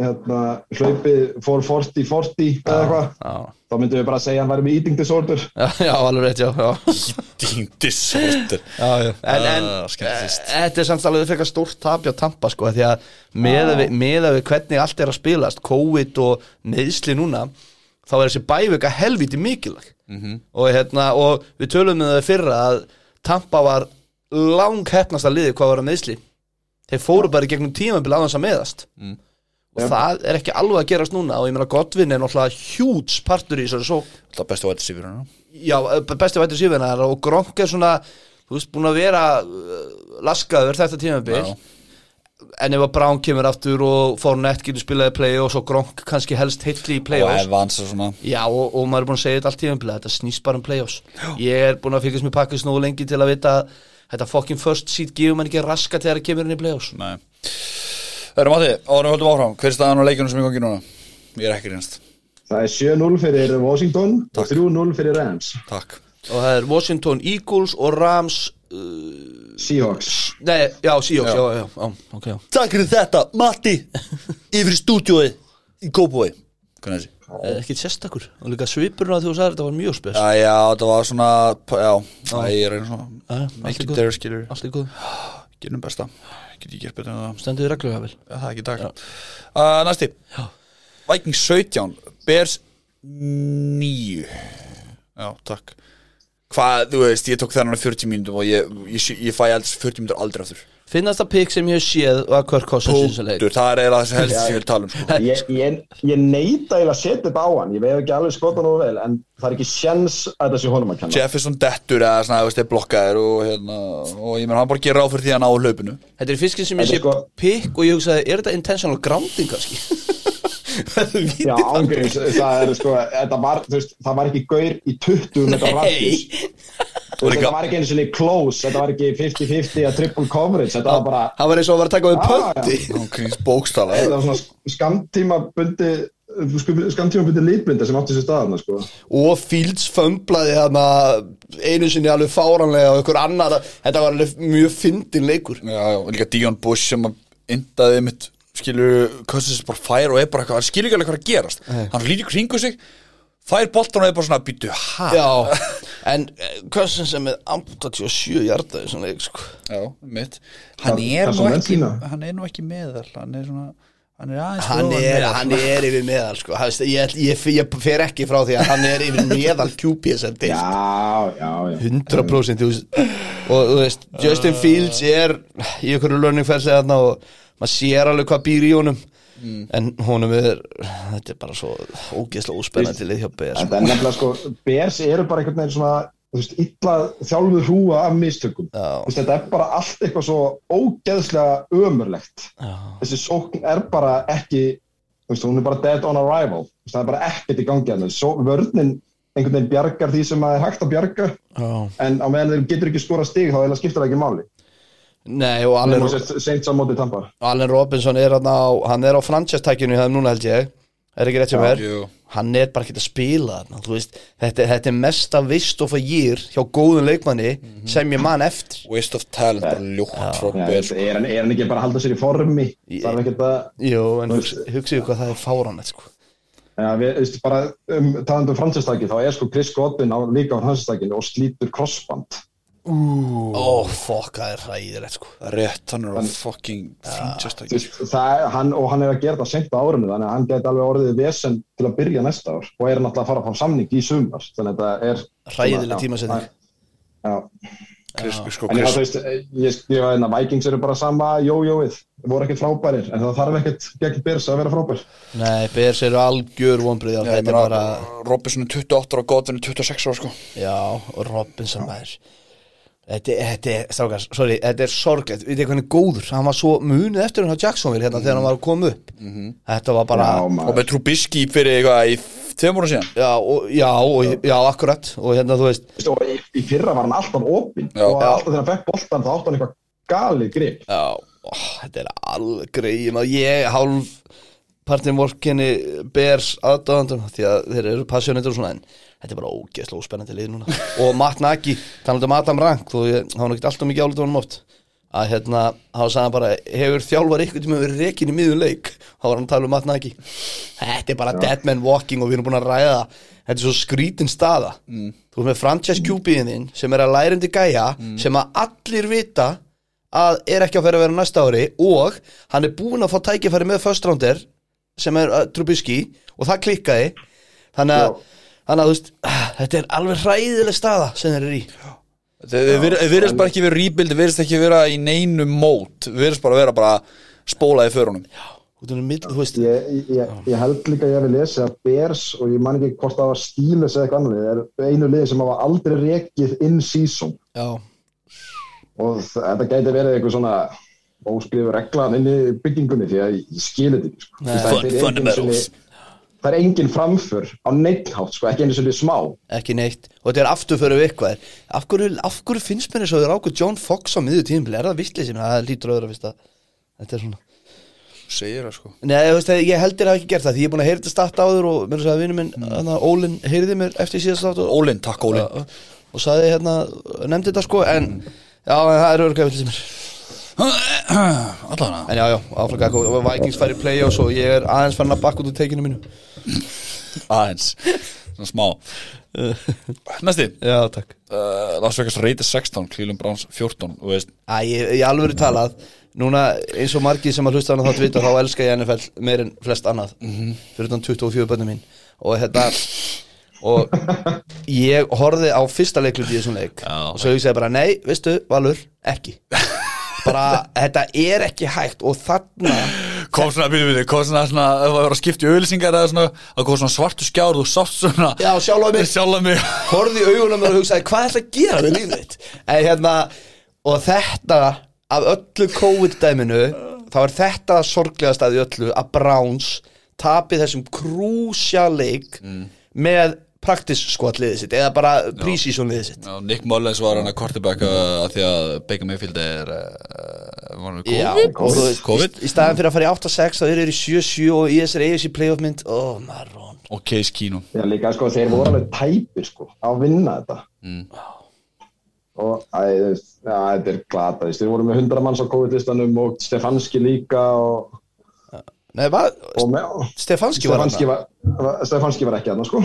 hérna, hlaupið 440-40 eða eitthvað, Já, þá myndum við bara að segja að hann væri með eating disorder já, já, alveg rétt, já, já, Ding disorder já, já. En, en Ah, skemmtist. eh, þetta er samt alveg frekar stórt tapja tampa, sko, því að meða við, meða við hvernig allt er að spilast COVID og neðsli núna þá er þessi bævika helviti mikilag -hmm. og hérna, og við tölum með það fyrra að tampa var lang hefnasta liði hvað var að neðsli þeir fóru bara í gegnum tímabil á þess að meðast mm. og það er ekki alveg að gerast núna og ég meina Godvin er náttúrulega hjúts partur í þessari sók Það bestu vætið sýfur hann Já, eh, b- besti vættur sífinar og Gronk er svona þú veist, búin að vera uh, laskaður þetta tímabil Já. en ef að Brown kemur aftur og Fournette getur spilaði playoffs og Gronk kannski helst heitli í Og playoffs Evans og svona Já, og, og maður er búin að segja þetta allt tímabil þetta snýst bara um playoffs Ég er búin að fylgjast með pakkast nógu lengi til að vita að þetta fucking first seed gefur mann ekki raska þegar það kemur inn í playoffs Nei Hörru Matti, árum höldum áfram Hver er staðan á leikjunum sem ég gangi núna? Ég er ekki reynst Það er 7-0 fyrir Washington og 3-0 fyrir Rams Takk og það er Washington Eagles og Rams Seahawks Nei, já, Seahawks, já, já, já, já, ok, já. Takk fyrir þetta, Matti Yfir í stúdíói Í Kópói Hvernig er þessi? Eh, Ekkert sérstakur og líka svipurinn að þú sagði þetta var mjög spes Já, já, það var svona Já, Æ, ég er einu svona Jæja, allt í Ekki góðu. þeirra skilur Allt í góð, Gerum besta Get ég gert betur en það stendur þið reglulega vel Já, það er ekki takk uh, Næsti Vikings 17 Bears 9 Já, takk Hvað, þú veist, ég tók þennan á 40 mínútum og ég, ég, sé- ég fæ alls 40 mínútur aldrei aftur Finnast það pikk sem ég hef séð var Kirk Cousins í þessum leik Punktur, það er eiginlega þessi helst sem ég vil tala um sko. Ég, ég, ég neita eiginlega að setja þetta á hann ég veit ekki alveg skota nú vel en það er ekki sjens að þetta sé honum að kenna Jefferson dettur eða svona, þú veist, er blokkaður og hérna, og ég menn, hann bara gerir á fyrir því að ná hlaupinu Þetta er fiskin sem ég Þetta sé er sko- pikk og ég hugsaði, er þetta intentional grounding kannski? Þú viti Já, ángriðs, það er sko þetta var, þú veist, það var ekki gaur í 20 metra radíus Þú veist, þetta var ekki einu sinni close, þetta var ekki 50-50 að triple coverage, þetta var bara Það var eins og að vera að taka við Já, pönti Hann krýns bókstala þetta var svona skamtímabundi skamtímabundi litblinda sem átti sér staðarna sko. Og Fields fömblaði hana einu sinni alveg fáranlega og ykkur annar Þetta var alveg mjög fyndin leikur Já, já, og líka Dion Bush sem að indaði mitt skilur, Cousins bara fær og er bara eitthvað, hann skilur ekki alveg hvað er að gerast hann lítið kringu sig, fær boltan og er bara svona að býtu, hæ? Já, en hversin sem er 87 hjarta í þessum leik sko já, mitt hann Það- er það nú sem menn ekki, sýna. hann er nú ekki meðal hann er svona, hann er aðeins hann ofan er, meðal. hann er yfir meðal sko. Hann veist, ég, ég, ég fer ekki frá því að hann er yfir meðal QP sem deilt Já, já, já 100% þú veist, og þú veist, Justin Fields er í einhverju learning færslega þarna og maður sér alveg hvað býr í honum en honum er þetta er bara svo ógeðslega óspennandi lið hjá BR Þetta er nefnilega sko, Bears eru bara einhvern veginn svona þú veist, illa þjálfuð hrúa af mistökum Já. Þú veist, þetta er bara allt eitthvað svo ógeðslega ömurlegt Já. þessi sókn er bara ekki þú veist, hún er bara dead on arrival Þú veist, það er bara ekkert í gangi hann vörnin einhvern veginn bjargar því sem að er hægt að bjarga Já. en á meðan þeir getur ekki skora stig þá eiginlega skiptir það ekki máli Nei, og Allen, Nefnum sett seint sammótið tampa Allen Robinson er hann á, hann er á franchise-tækjunu hérna núna held ég, er ekki rétt sem er Jú. hann er bara ekki að spila þarna, þú veist, þetta, þetta er mesta vist of a year hjá góðum leikmanni sem ég man eftir Waste of talent, bara ljótt frá Já, Bears þú veist, er, hann, er hann ekki bara að halda sér í formi Ég- þarf ekkert að Jú, en Þú hugsi- hugsið ykkur hvað það er fáranett sko. Já, við, veist, bara um, talandum fransistæki, þá er sko Chris Godwin á, líka á fransistækinu og slítur crossband. Ó, fokk, það er hræðilegt sko. Rétt, hann er á fucking Þú fínstjastæk veist, Það, er- hann, og hann er að gera það sent á árinu, þannig að hann geti alveg orðið vesen til að byrja næsta ár og er náttúrulega að fara að fá samning í sumar, þannig að þetta er... Hræðileg Já, tímasetning. Já, Krispi sko, en já, þú Krispi veist, ég skrifaði hérna, Vikings eru bara sama jójóið, voru ekkert frábærir, en það þarf ekkert gegn Byrs að vera frábær. Nei, Bears eru algjör vonbriðar Já, ég þetta er meina, bara, Robinson er 28 ára og Godwin er 26 ára sko já, og Robinson maður Þetta, þetta er, strákar, sorry, þetta er sorglegt Við veitum hvernig góður, hann var svo munið eftir hann á Jacksonville hérna þegar hann var að koma upp Þetta var bara, Já, Og maður. með Trubisky fyrir eitthvað í tveim ára síðan já, og, já, og, já, akkurat Og hérna, þú veist, Þú veist, og í, í fyrra var hann alltaf opinn Já. og alltaf þegar hann fekk boltan þá átti hann eitthvað galið grip. já, ó, þetta er algrei Ég maður, ég hálf partinn vorkinni Bears aðdáðandum Því að þeir eru passionator og svona En þetta er bara ógeðslega óspennandi lið núna Og Matt Nagy, talandi um Adam Rank Þú, ég, hann var ekkert alltaf mikið álítið honum oft að hérna, hann sagði hann bara hefur þjálfar ykkur tíma verið rekin í miðun leik þá var hann að tala um Matt Nagy þetta er bara dead man walking og við erum búin að ræða það. þetta er svo skrítin staða þú erum með franchise QB-in þinn sem er að læra um til gæja sem að allir vita að er ekki að færa að vera næsta ári og hann er búin að fá tækifæri með first rounder sem er uh, Trubisky og það klikkaði þannig að, þannig að þú veist, ah, þetta er alveg hræðileg staða sem þeir eru í Þau verðist bara ekki vera rebuild, þau verðist ekki vera í neinu mót, þau verðist bara vera bara spólaði fyrir honum út um mill, þú veist, Ég, ég- ég, ég held líka að ég hefði lesið að Bears og ég man ekki hvort það var Steelers eða eitthvað annað, það er einu liði sem hafa aldrei rekið in season já og þ- þetta gæti verið eitthvað svona óskrifu reglan inn í byggingunni því að ég skil þetta ekki, sko. Það er- Fun- það er engin fundamentals. sinni- Það er engin framför á neitthátt, sko, ekki einu sinni smá ekki neitt og þetta er afturföru við eitthvað af hverju, af hverju finnst mér þess að þau ráku John Fox á miður tíðum, er það vitleysinu það lítur öðru að fyrst að þetta er svona Segir það sko Nei, þú veist, að ég heldur að hafa ekki gert það því ég er búin að heyra þetta statt áður og mér sagði vinnum minn mm. Ólin heyriði mér eftir síðast átt og, Ólinn, takk Ólinn og, og sagði hérna, nefndi þetta sko en já, en það er örgæð vitleysinu Allan að en já, já, áfram gæk og Vikings fær í play-offs og ég er aðeins fann að bakka út úr teikinu mínu Aðeins, svona smá Næsti, Já, takk uh, Las Vegas Raiders 16, Cleveland Browns 14 Þú veist, Æ, ég, ég alveg talað Núna, eins og margir sem að hlusta hann að þátt vita þá elska ég NFL meir en flest annað fyrir utan 24 bönnum mín og þetta og ég horfði á fyrsta leiklut í þessum leik Já. og svo ég segi bara, nei, veistu, Valur, ekki bara, þetta er ekki hægt og þarna kom svona, byrju, byrju, kom svona, svona ef það var að skipta í auðlýsingar eða svona það kom svona svartu skjár, þú sátt svona Já, sjálfa mig. Sjálfa mig horfði í augunum mér og hugsaði hvað ætla að gera við lífið þitt en hérna, og þetta af öllu COVID-dæminu þá er þetta sorglegast að öllu að Browns tapi þessum krúsjaleik með praktisskot liðið sitt eða bara prísísjón liðið sitt Mm. Já, Nick Mullins var hann að quarterback uh, að því að Baker Mayfield er uh, var hann við Já, COVID? og þú veist, COVID? í, í staðan fyrir að fara í 8-6 þá eru þeir í 7-7 og í þessari AFC playoff mynd oh, marrón og Case Keenum Já, líka, sko, þeir voru alveg tæpir, sko, að vinna þetta mm. og, æ, þú veist, já, þetta er glata, þú veist, þeir voru með 100 manns á COVID-listanum og Stefanski líka og, Nei, var, og með, Stefanski var hann Stefanski var, var, Stefanski var ekki aðna sko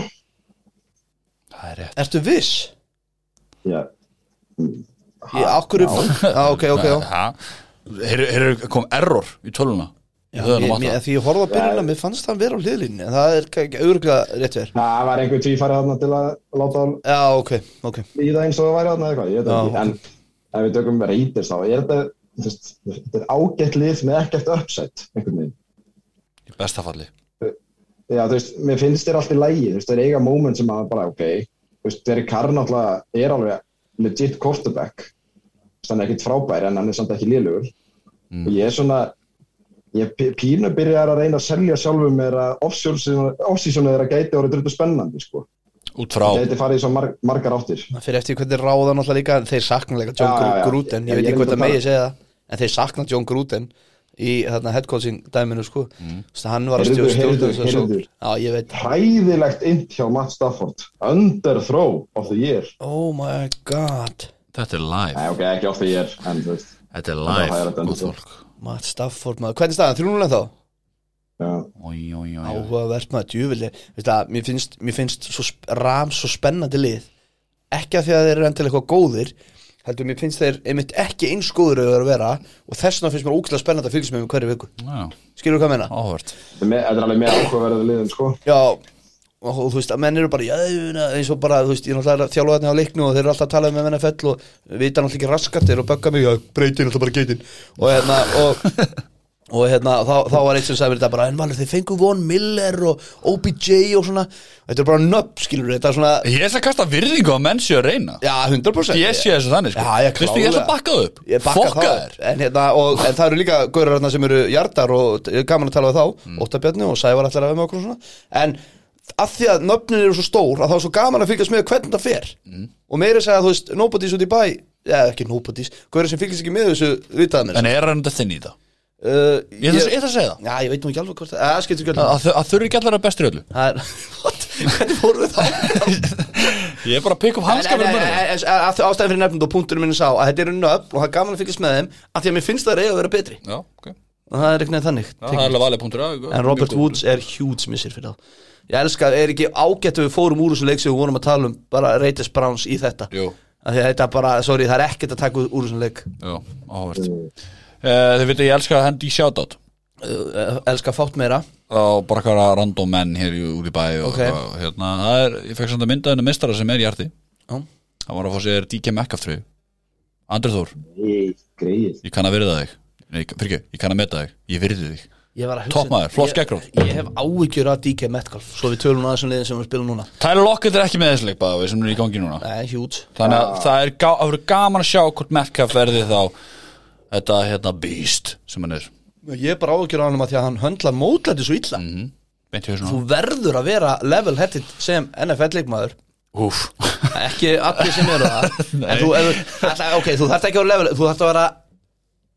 Það er rétt Ertu viss? Já. Ég, okkur um Já, ok, ok, já Ha? Heyrðu, heyrðu, kom error í töluna Já, Það er mér, hann mér, að því ég horfði á byrjunna, Já. mér fannst hann vera á liðlínu en það er ekki auðvitað rétt verið það var einhver tvífæri þarna til að láta hann Já, ok, ok í það eins og það væri þarna eða hvað, ég veit Já. ekki en ef við tökum reytir þá er þetta þú veist, þetta er ágætt lið með ekkert uppsett einhvern veginn bestafalli Já, þú veist, mér finnst þér alltaf í lægi, þú veist, það er eiga moment sem að bara, ok, þú veist, Derek Carr náttúrulega er alveg legit quarterback, þú veist, hann er ekkit frábær en hann er samt ekki lélugur og ég er svona, ég p- pínu byrjar að reyna að selja sjálfum mér að off-season er að gæti orðið drullu spennandi, sko, út frá gæti farið í svo marg, margar áttir. Það fyrir eftir hvernig ráða náttúrulega líka en þeir sakna líka John Já, já, já. Gruden, ég Ég- veit ekki ég myndi hvort það bara- megi segja það en þeir sakna John Gruden í þarna headcoaching dæminu sko mm. hann var að Heyrðu, stjórn stjórn heyrðu, þess að sók heyrðu. Já, ég veit Hræðilegt int hjá Matt Stafford, under throw of the year, Oh my god Þetta er nei, live ok, ekki of the year, en þú veist, Þetta er Það live, er þetta góð ennþá. fólk Matt Stafford maður Hvernig er staðan? 3-0 þá? já, Ói, ói, ói, ói Áhugavert maður djúvillig Veist það, mér finnst, mér finnst svo, sp- ram svo spennandi lið Ekki að því að þeir eru endilega eitthvað góðir Heldur, mér finnst þeir einmitt ekki eins góður að vera og þess vegna finnst mér ógæslega spennandi að fylgjast með mér hverju viku Já, Skilur hvað ég meina? áhört þetta er með- þetta er alveg með áhugaverðið liðum, sko. Já, og, og þú veist að menn eru bara já, ég meina, eins og bara, þú veist, ég er náttúrulega þjálfa þarna á leiknu og þeir eru alltaf að tala um NFL og vita náttúrulega ekki raskatir og bögga mig já, breytin alltaf bara geitin og hérna, og, og hérna þá, þá var eitt sem sagði mér þetta bara, en valur þeir fengu Von Miller og OBJ og svona þetta er bara nöpp, skilur þetta er svona Ég ætla að kasta virðingu á menn séu að reyna já, 100% Ég sé þessu þannig, sko Já, já, Veistu, ég ætla klálega. að bakka það upp Ég bakka Fokka þá þér en, hérna, og, en það eru líka gaurar hérna sem eru hjartar og er gaman að tala við þá mm. Óttabjarni og Sævar allar að vera með okkur og svona en að því að nöfnin eru svo stór að þá er svo gaman að fylgjast með hvernig það fer og meira að segja þú veist nobody's út í bæ eða ekki nobody's, gaurar sem fylgjast ekki með þessu vitaði mér En er hann þetta þinn í það? uh, Ég ætla ég ætla að segja það Já, ég veit nú ekki alveg hvort það, eða skiptir ekki Að- alveg að þau- Að þurfi ekki allar að vera bestur í öllu Það er, what, hvernig fórum við þá? Ég er bara að pikka upp hanska fyrir mönnum Ástæðan fyrir nefnum og punkturinn minn er sá að þetta eru nöfn og það er gaman að fylgjast með þeim að því að mér finnst það reyða að vera betri Já, ok Já, og það er eitthvað þannig Það er alveg valið punktur En Robert Woods er huge missir fyrir þá Ég elska, er ekki ágætt að við fórum úr þessu leik sem við vorum að tala um bara Reytis Browns í þetta Jú. Af því að þetta bara, sorry, það er ekkert að taka úr þessum leik Já, áhört Þau veit að Eh, ég elska að hendi í shoutout Eh, Uh, Elska fátt meira á bara hverja random menn hér í- út í bæ og, Ok. og hérna, það er, ég fekk samt að mynda henni mistara sem er í hjarti Já. hann var að fá sér DK Metcalf-treyju Andri Þór, Nei, greið. ég kann að virða þig Nei, fyrir ekki, ég kann að meta þig, ég virði þig Ég var að hugsa Topp maður, flott Ég- skeggrót. Ég hef áhyggjur að DK Metcalf Svo við tölum aðeins um liðin sem við spilum núna Tyler Lockett er ekki með þessu leik bara við sem er í gangi núna Það er huge þannig Ah. að það er, gá, það verður gaman að sjá hvort Metcalf verði þá þetta hérna beast sem hann er Ég er bara áhyggjur að hann um að því að hann höndla mótlæti svo illa Mhm. beint í hausnum á Þú verður að vera level headed sem NFL leikmaður honum. Úff. ekki allir sem eru það en þú, ef, þú- alltaf, ok, þú þarft ekki að vera level þú þarft að vera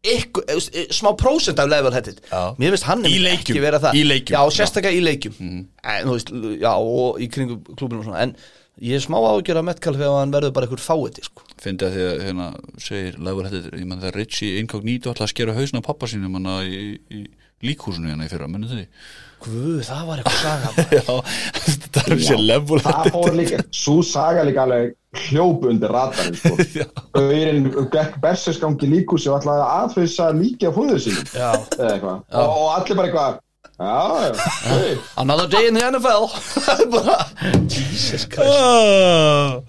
ykkur, eh, s- eh, smá prósent af level headed Já. mér finnst hann Í einmitt leikjum. ekki vera það Í leikjum. Mm. já, sérstaklega í leikjum en, þú veist, l- já, og í kringum klubinu og svona en ég er smá ágjör að mettkall þegar hann verður bara ykkur fáiði sko. fyndi að því að hérna, segir Leifur Hettir, ég menn það Richie Incognito ætla að skera hausna á pappa sínum hann í, í líkhúsinu hérna í fyrra, munið þið Guð, það var eitthvað saga maður. Já, þetta er sér Leifur Það fór líka, svo saga líka alveg hljóp undir ratarinn, sko. Öyrinn gekk berserskangi líkúsi og ætlaði að aðfeysa líki á fóður sínum. Já. Eða eitthvað. Og, og allir bara eitthvað, já, já, hey. another day in the NFL Það er bara, Jesus Christ Ah!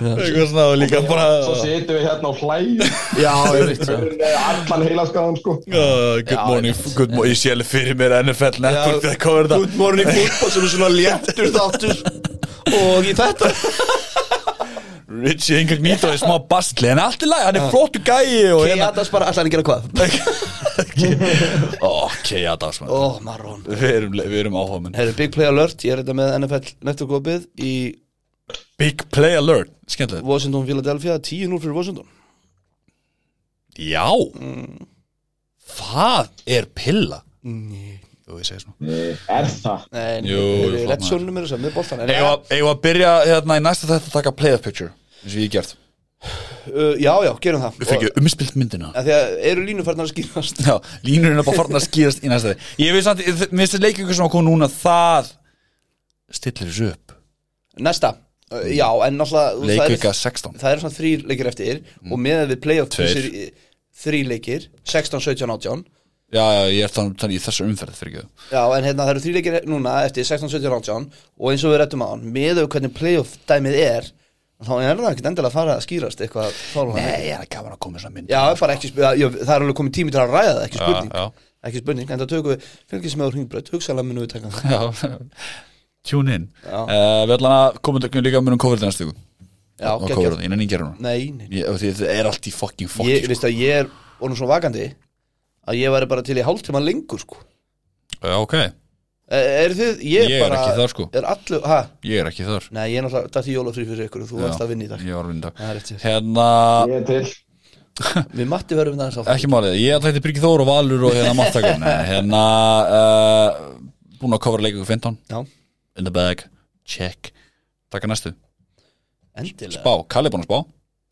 eitthvað svona og líka bara Svo situm við hérna og hlæjum. já, ég veit það Öyrinn er allan heilaskaðan, sko. Uh, good morning, good morning, ég sé alveg fyrir mér NFL Network, það komur þetta Good morning football sem er svona léttur þáttur og í þetta Richie Incognito er smá bastli, en allt í lagi, hann er flottu gæi og Kei hérna Adams bara alltaf að gera hvað Ok, já, það var Ó, marrón Við erum, við erum áhóðmenn Herru, Big Play Alert, ég er þetta með NFL nettoklopið í Big Play Alert, skemmtilegt Washington, Philadelphia 10-0 fyrir Washington Já Það er pilla Jú, ég segi svona Er það? Jú, Nei, þeir jú, eru flott rétt sjónum eh, er þess að með boltan en, Eigum að- eigum að byrja hérna í næsta þetta að taka playoff picture eins og ég hef gert uh, Já, já, gerum það Við fyrir ekki umspilt myndina að Því að eru línufarnar að skýrast Já, línurinn er bara farin að skýrast í næsta þætti. Ég veist samt, ég- mér finnst leikur sem að koma núna það stillir þessu upp Næsta, uh, já, en náttúrulega það Leikvika eru- 16 Það eru svona þrýr leikir eftir og með að við playoff Tveir. þrý leikir 16, 17, 18 Já, já, ég er þannig, þannig í þessu umferð fyrir ekki það Já, en hérna það eru þrýleikir núna eftir 16, 17, 18 og eins og við rettum á hann, með þau hvernig playoff dæmið er, þá er það ekkert endilega að fara að skýrast eitthvað fálulega Eh, Nei, ég er gaman að koma með svona mynd Já, bara ekki, sp- já, það er alveg komið tími til að ræða það, ekki spurning já. ekki spurning, en það tökum við fylgismöður hringbröð, hugsaðlega munum við taka það Já, tune in Já. uh, Við ætlum að koma til líka munum COVID næstu viku. Já, Og geggjað. COVID, ég nenni gera hún Nei, nei, Þetta er allt í fucking fokki ég, sko. veist að ég er orðin svo vakandi að ég væri bara til í hálftíma lengur sko Já, ok, E- Er þið, ég, Ég er bara ekki þar, sko. Er allu, ha? ég er ekki þar Nei, ég er náttúrulega dætti jólafrí fyrir ykkur og þú varst að vinna í dag Ég var að vinna í dag Það er rétt hjá þér. Hérna, Ég er til Við Matti verðum það eins ekki málið Ég ætla þetta Bryggið Þór og Valur og hérna Mattakar Hérna, uh, búin að kofra leikur 15 Já, In the bag, check Takk að næstu endilega Spá, Kalli er búin að spá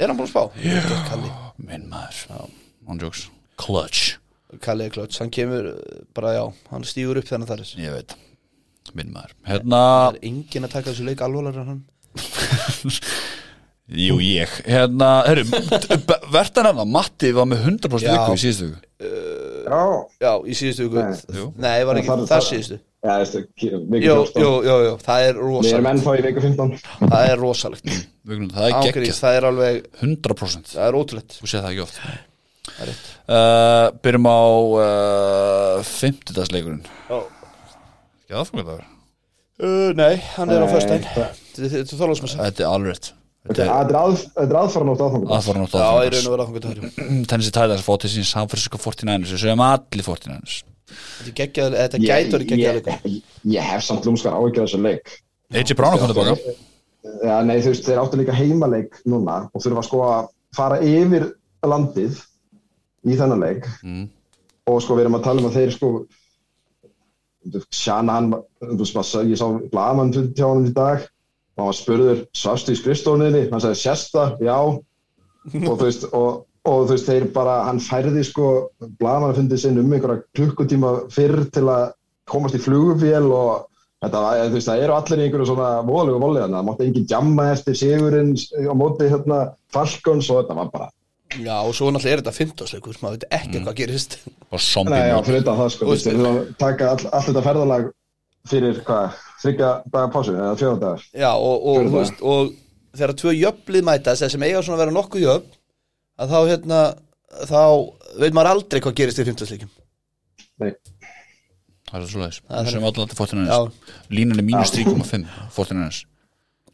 Er hann búin að spá? Yeah. Kalli, Minn maður, on jokes Clutch, Kalli er klöts, hann kemur uh, bara já, hann stígur upp þennan þar er ég veit Minn maður Hérna, Það er enginn að taka þessu leik alvölar en hann jú ég Hérna, herru, verðan hann að Matti var með 100% Já. viku í síðustu viku Já Já, í síðustu ykkur Nei. Jú. Nei, var ekki Það- þar það- síðustu Já, veistu, Jú, vikur 14 jú, jú, jú, það er sko. Við erum rosalegt ennþá í vikur 15 Það er rosalegt Vikunum, Það er Ángriðs, geggjast, það er alveg, 100% það er ótrúlegt Þú sé það ekki oft Það er rétt uh, Byrjum á uh, 50 dagsleikurinn Já. Já, það fór það Uh, nei, hann er á föstæn Nei, Þetta er þorlásmessa Þetta er alveg rétt Þetta Þetta er þetta er að- þetta er aðfara nótt aðfangur aðfara nótt Já, ég raun aðfangars og vera þangur dagur já. Tennisi Tæðars fótt til sín samfyrsku 49ers Þessu hefum allir 49ers Þetta er geggjað, þetta gætur í geggjað leikur Ég hef samt lúmskar áhyggjur af þessu leik AJ Brown að koma tilbaka Já, nei, þú veist, þeir áttu líka heimaleik núna og þurfa sko að fara yfir landið í þennan leik Mm. og sko við erum að tala um að þeir sko Sjana hann, þú veist, maður, sá- ég sá blaman hjá hann í dag og hann var spurður, sástu í skrifstofunniðni? Hann sagði, sérsta, já og þú veist, og, og þú veist, þeir bara, hann færði sko blaman fundið sinn um einhverja klukkutíma fyrr til að komast í flugvél og þetta var, þú veist, það eru allir í einhverju svona volegu volið hann, það mátti engin jamma eftir sigurinn á móti hérna Falkons og þetta var bara, Já, og svo náttúrulega er þetta 15 leikur maður veit ekki hvað gerist Og Nei, já, zombie fyrir utan það sko, þú veist, við þurfum að taka all, allt þetta ferðalag fyrir hvað, þryggja dagar pásu eða sko. fjóðan dagar. Já, og, og, Gjörðu þú það. veist, og þegar tvö jöflið mætast þeir sem eiga svona að vera nokkuð jöfn að þá, hérna, þá veit maður aldrei hvað gerist í 15 leikum Nei, Það er svo leiðis Það er Þessu hefum allir allir 49ers Já. Línan er mínus 3,5 49ers uh,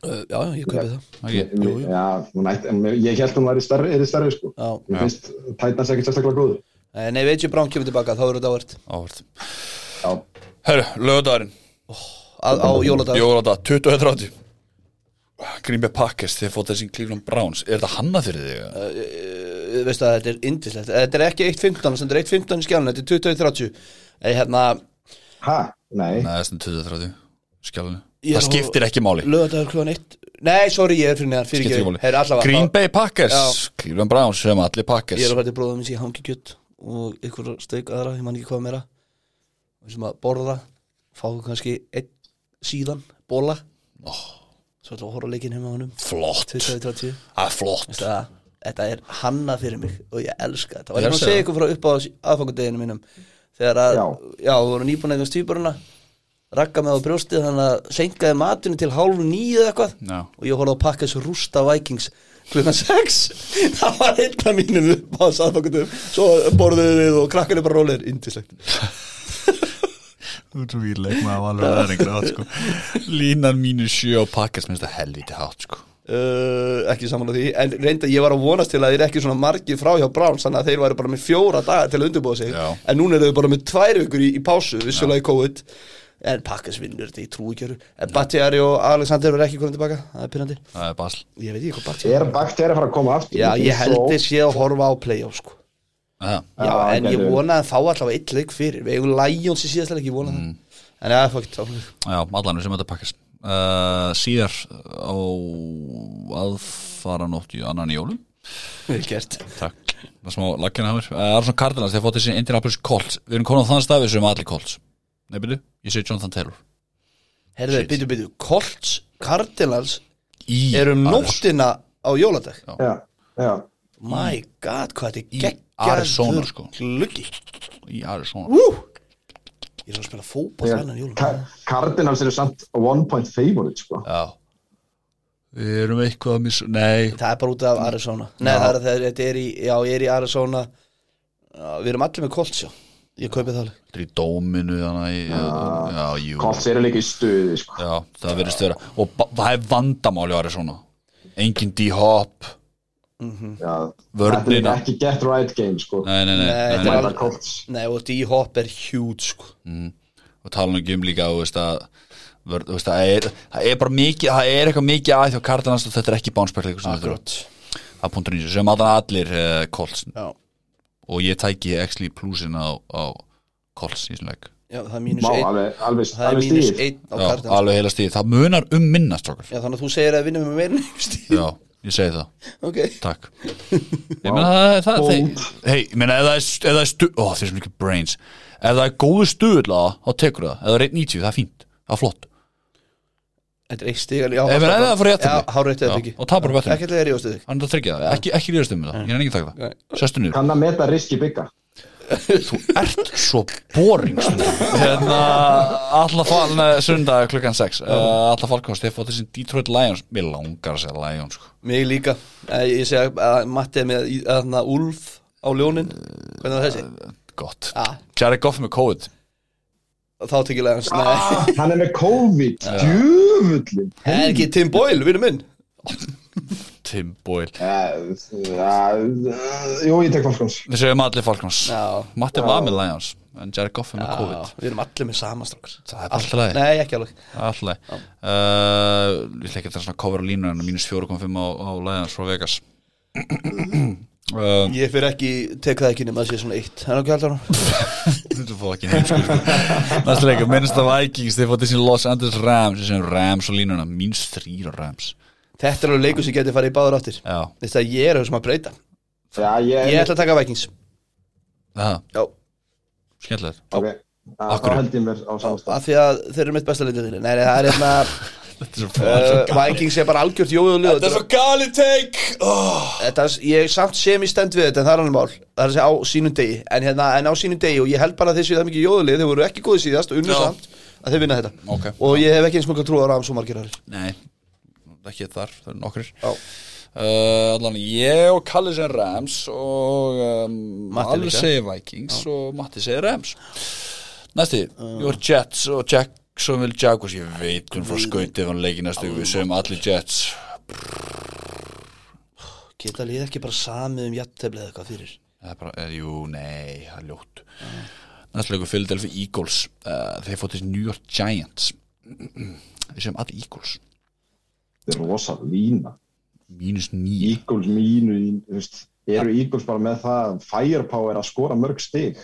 Já, já, ég kaupið það okay. jú, jú. Já, hún ætti, en ég held hún væri stærri, er stærri sko. já. Ég finnst tætnast ekkert sérstaklega góð. Eh, Nei, veit ég Brown kemur tilbaka, þá eru þetta ávært Áhvert Já, Herru, lögðarinn á jóladag Jóladag 21.30 Green Bay Packers Þeir fótt þessi Cleveland Browns Er þetta hannað fyrir þig? eða? uh, veistu að þetta er indislegt þetta er ekki 1.15, þetta er 1.15 í skjálun þetta er 20.30 Eh, hérna, hæ? Nei, Nei, það er svona 20.30 Skjálunni Ég er Það á- skiptir ekki máli lögadagur klugan 1 nei, sorry, ég er fyrir neðan, fyrir Skiptir ekki ekki máli. Heyrðu, allavega, Green þá- Bay Packers Já. Cleveland Browns sem allir Packers ég er að fara til bróða minns í hangi kjött og ykkur steik aðra, ég man ekki hvað meira og sem að borða fá kannski einn síðan bóla svo ætla að horfa á leikinn heima á honum Flott 2030 Það er flott Veistu það, þetta er hanna fyrir mig og ég elska þetta og Ég ég má elska segja það. ykkur frá upp á aðfangadeginu mínum þegar að, Já. já, þú voru nýbúin eitthvað stýpuruna rakka með á brjóstið þannig að senkaði matinu til hálf nýju eða eitthvað Já. og ég horfði að pakka þessu rústa Vikings klukkan 6 það var einn af mínum upp á aðfangadegum svo borðuðu við og krakkanu bara rólir indislegt Þú ert svo výrleik maður alveg að það er einhverja átt sko Línan mínu sjö og Packers minnst það helviti hátt sko Uh, ekki samanlega því, en reynda ég var að vonast til að þeir eru ekki svona margir frá hjá Browns þannig að þeir væri bara með fjóra daga til að undirbúa sig Já. en núna eru þau bara með tvær vikur í, í pásu vissulega í COVID en Pakkars vinnur þetta í trúikjöru en Battiari og Alexander verður ekki komin tilbaka það er pyrrandi, Það er basl ég veit ekki hvað Battiari er bakterið að fara að koma aftur? Já, ég Mér finnst held svo- þeir sé að horfa á playoff sko. Það Já, Já, en ég gæti verið. vona að fá allavega eitt leik fyrir við eigum Lions í síðasta leik, ég vona Mm. það en já, fokkt, þá Já, allan er sem þetta Packers uh, Síðar á aðfara nótt í annan í jólum vel gert Takk Það er smá laggina hafur uh, Arson Cardinals, þeir fótt þessi Indianapolis Colts Við erum konum á þann stafi sem allir Colts Nei, byrju, ég segi Jonathan Taylor Herðu, Shit. byrju, byrju, Colts, Cardinals Í eru um Arizona. nóttina á jóladag Já, já. My god, hvað Í þetta er geggjaður Arizona, sko. gluggi Í Arizona Wú! Ég er svo að spila fótball Já. þannig jólum Ka- Cardinals eru samt one point favorite sko. Já Við erum eitthvað að missa Nei, Það er bara út af Arizona Nei, það er, það er, þetta er í, já, ég er í Arizona já, Við erum allir með Colts, já ég kaupi það alveg Aldrei í dóminu þannig að- Já, jú Kols eru líka í stuði sko. Já, það verðist vera Og ba- það er vandamáli árið svona Engin D-hop Já, Þetta er Vörnina líka ekki get right game sko. Nei, nei, nei, Nei, nei, þetta nei. er Mæta alveg- Colts Nei og D-hop er huge sko. Og tala ekki um líka þú veist, að, vörn, þú veist, það, er, það er bara mikið Það er eitthvað mikið að því að Cardinals og Þetta er ekki bánspekleikur sem þetta er Það er punktur nýs Sem að allir uh, Colts Já. Og ég tæki actually plusin á, á Colts í slæk Já, það er mínus Má, einn alveg, alveg, Það er alveg mínus stíð einn á Já, kartan alveg heila stíð Það munar um minnast okkur Já, þannig að þú segir að við vinnum með meira en einu stíð Já, ég segi það Ok Takk Ég meina það, það, það Hei, ég meina ef það er, ef það er stu Ó, þeir sem ekki brains Ef það er góðu stuðla þá tekur það Ef það er 1.90, það er fínt Það er flott Þetta er eitt stíð Já, Ef það er það fyrir réttum Já, háréttið þetta Já, ekki Og tapar á Ekki betur til þegar ég ástuði Hann er að tryggja það Ekki, ekki líðast um það Ég er ekki að taka það Sestu niður Kann að meta riski bygga Þú ert svo boring stundum. Hérna Alla faln Sundag klukkan 6 uh, Alla falkost Þeir fótt þessi Detroit Lions Mér langar að segja Lions sko. Mig líka Eh, Ég segi að Matti er með í- þarna Úlf á ljónin Hvernig var þessi? Gott Ah. Jared Goff með COVID Þá tekið legans Nei Hann er með COVID Djöfulli Það er ekki Tim Boyle, vinnu minn Tim Boyle Jú, ég tek Falcons Við segjum allir Falcons Já Matti var með Lions en Jared Goff er með Já, COVID Við erum allir með sama strókar Það er bara alltaf leið Nei, ekki alveg Alltaf leið uh, Ég ætla ekki að það er svona cover á línu en mínus 4.5 á, á Lions frá Vegas uh, Ég fyrir ekki, tek það ekki nema að sé svona eitt Það er ekki heldur hann Þú fóð ekki heim sko Næsta leikur, minnst af Vikings þeir fótt þessi Los Angeles Rams sem Rams á línuna, mínus 3 á Rams Þetta er alveg leikur sem getur farið í báður áttir Já, Þetta að ég er að sem að breyta Já, ég Ég ætla að taka Vikings það, Já skemmtilegt Ok, það Akkur. þá held ég mér á samstæð af því að þeir eru mitt besta lindið Nei, nei, það er hérna uh, Vikings er bara algjört jóið og lið Uh, Þetta er svo gali take Oh. Þetta, Ég samt sem í stend við þetta en það er hann mál Það er að segja á sínum degi en, hérna, en á sínum degi og ég held bara að þeir séu það mikið jóðulið Þeir voru ekki góðið síðast og unnu samt að þeir vinna þetta Ok. Og ég hef ekki eins mjög trú á rám svo margir aðrir Nei, ekki þar, það eru nokkrir Já. uh, Allan, ég og Kalli sem Rams og um, Matti Alli líka. segir Vikings og Matti segir Rams Næsti, ég var Jets og Jacksonville Jaguars Ég veit hún frá skautið hann leikið næstu viku, Við segjum allir Jets Geta lið ekki bara samið um jatteflið eitthvað fyrir Það er bara, er, jú, nei, það er ljótt Næstu leikur Philadelphia Eagles uh, Þeir fótt þessi New York Giants Við segjum allir Eagles Þetta er rosa lína Mínus nýja Eagles mínu í- þú veist, Eru Eagles bara með það Firepower að skora mörg stig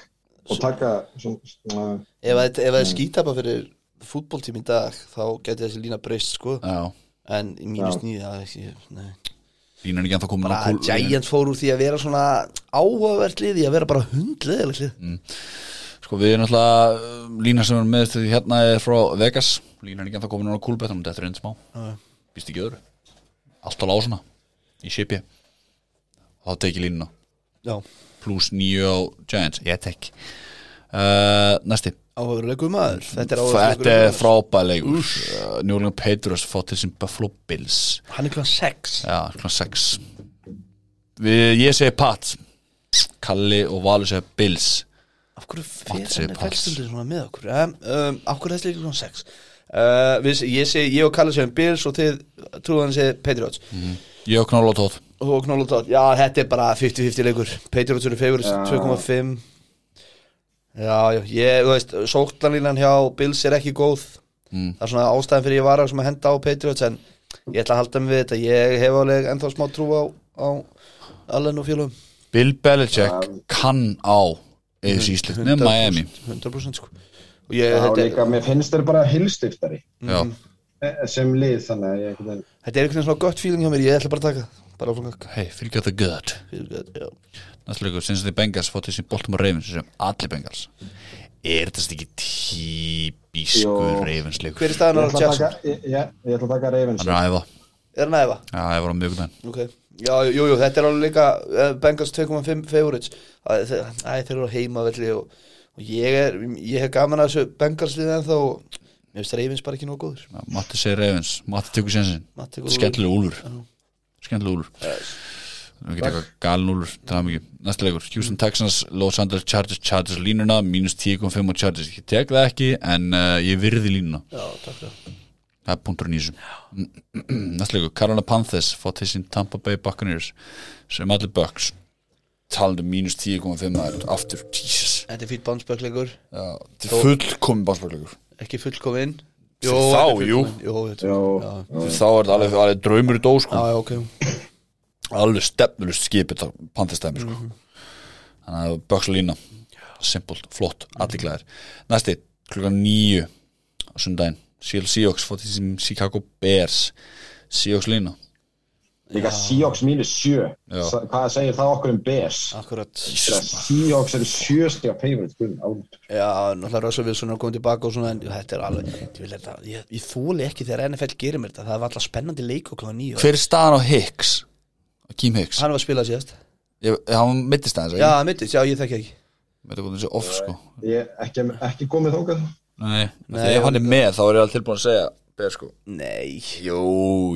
Og taka svona, Ef að þetta- ef það er skítapa fyrir fútboltími í dag þá geti þessi lína breyst sko Já, en í mínus Já. nýja það er ekki nei. línan ekki að það komin bara að Giants fór úr því að vera svona áhugavert lið í að vera bara hundleðilegt lið Sko við erum alltaf lína sem er með til hérna er frá Vegas Lína er ekki að það komin á kúlbettunum, þetta er einn smá Já. Vist ekki öðru Allt á lásuna, í shipi Og þá teki línuna já, Plus nýju á Giants, ég tek uh, Næsti áhugaverulegu maður þetta er Þetta áhugaverulegu er frábæðleik uh, Njóðlega Petrus fótt til sem Buffalo Bills hann er klant 6 Já, klokkan 6 við, Ég segi Pat Kalli og Valur segja Bills af hverju Matti fyrir segir hann er Pals. fælstundur svona með okkur eh? um, af hverju er þessi líka klant 6 uh, við, ég, seg, ég og Kalle segjum Bills og þið trúðan segir Patriots Ég og Knála Tóð og Knoll og Tótt já, þetta er bara 50-50 leikur Patriots eru favorites 2,5 Já, já, ég, þú veist, sóknarlínan hjá Bills er ekki góð Það er svona ástæðan fyrir ég var að sem að henda á Patriots En ég ætla að halda mig við þetta Ég hef alveg ennþá smá trú á, á Allen og félagum Bill Belichick kann á eða Mhm. síslutni Miami 100% sko Og ég, Já, þetta, líka, er, mér finnst þeir bara hilstiftari Já, Eh, sem lið þannig að ég einhvern veginn þetta er einhvern veginn svona gött feeling hjá mér Ég ætla bara að taka það. Bara áfram gakk hei, fyrir the good Næstu leikur, sinns að þið Bengals fótt þessi Baltimore Ravens sem allir Bengals Er þetta ekki Jó. típiskur Ravens leikur? Hver er staðan á Ég ætla að Jackson? taka- ég- ég- ég ætla að taka Ravens Hann er að æfa, Er hann að efa? já, ég var á mjög daginn Ok, já, jú, jú, þetta er alveg líka uh, Bengals 2.5 favorites Æ, þeir, æ, þeir eru á heimavelli og, og ég, er, ég hef gaman að þessu Bengals liðið ennþá og mér finnst reyfins bara ekki nóg góður Matti segir Ravens, Matti tekur sénsinn Matti tekur Úlfur. Skemmtileg úlur Skemmtileg úlur Við getum eitthvað galnúlur til það mikið Næsta leikur, Houston Texans, Los Angeles Chargers Chargers línuna, mínus 10.5 á Chargers Ég tek það ekki, en uh, ég virði línuna Já, takk það Það er punktur nýsum Næsta leikur, Carolina Panthers fá til sín Tampa Bay Buccaneers sem allir Bucks talandi um mínus 10.5 maður, aftur, Jesus Þetta er fýtt bánspöklingur, Já, þetta er fullkomin basketleikur ekki fullkominn Þá, þetta er jú. fullkominn. Jó, þetta Já, Þá er þetta alveg, alveg draumur í dós sko. Já, já, ok Alveg stefnulust skipið Pantistæmi sko. Þannig að Bucks og lína Simpult, flott, allir glæðir Næsti, klukkan níu á sundaginn, Seal Seahawks fótið sem Chicago Bears Seahawks lína líka Seahawks mínus sjö Já. Sa- hvað segir það okkur um Bears Akkurat Þegar Seahawks eru sjöstiga favorite guð minn almáttugur. Já, náttúrulega Russell Wilson er komið tilbaka og svona en þetta er alveg, ég, vil þetta, ég, ég þóli ekki þegar NFL gerir mér þetta, það var alltaf spennandi leik og kláða nýja, Hver er staðan á Hicks? Á Kim Hicks? hann var að spila síðast Ég, hann mittist aðeins, Já, ekki? mittist, já, ég þekki ekki Þetta er búin þessi off sko ég ekki, ekki komið þókað Nei, Nei, þegar hann er með þá er ég alveg tilbúin að segja Bears sko Nei, Jú,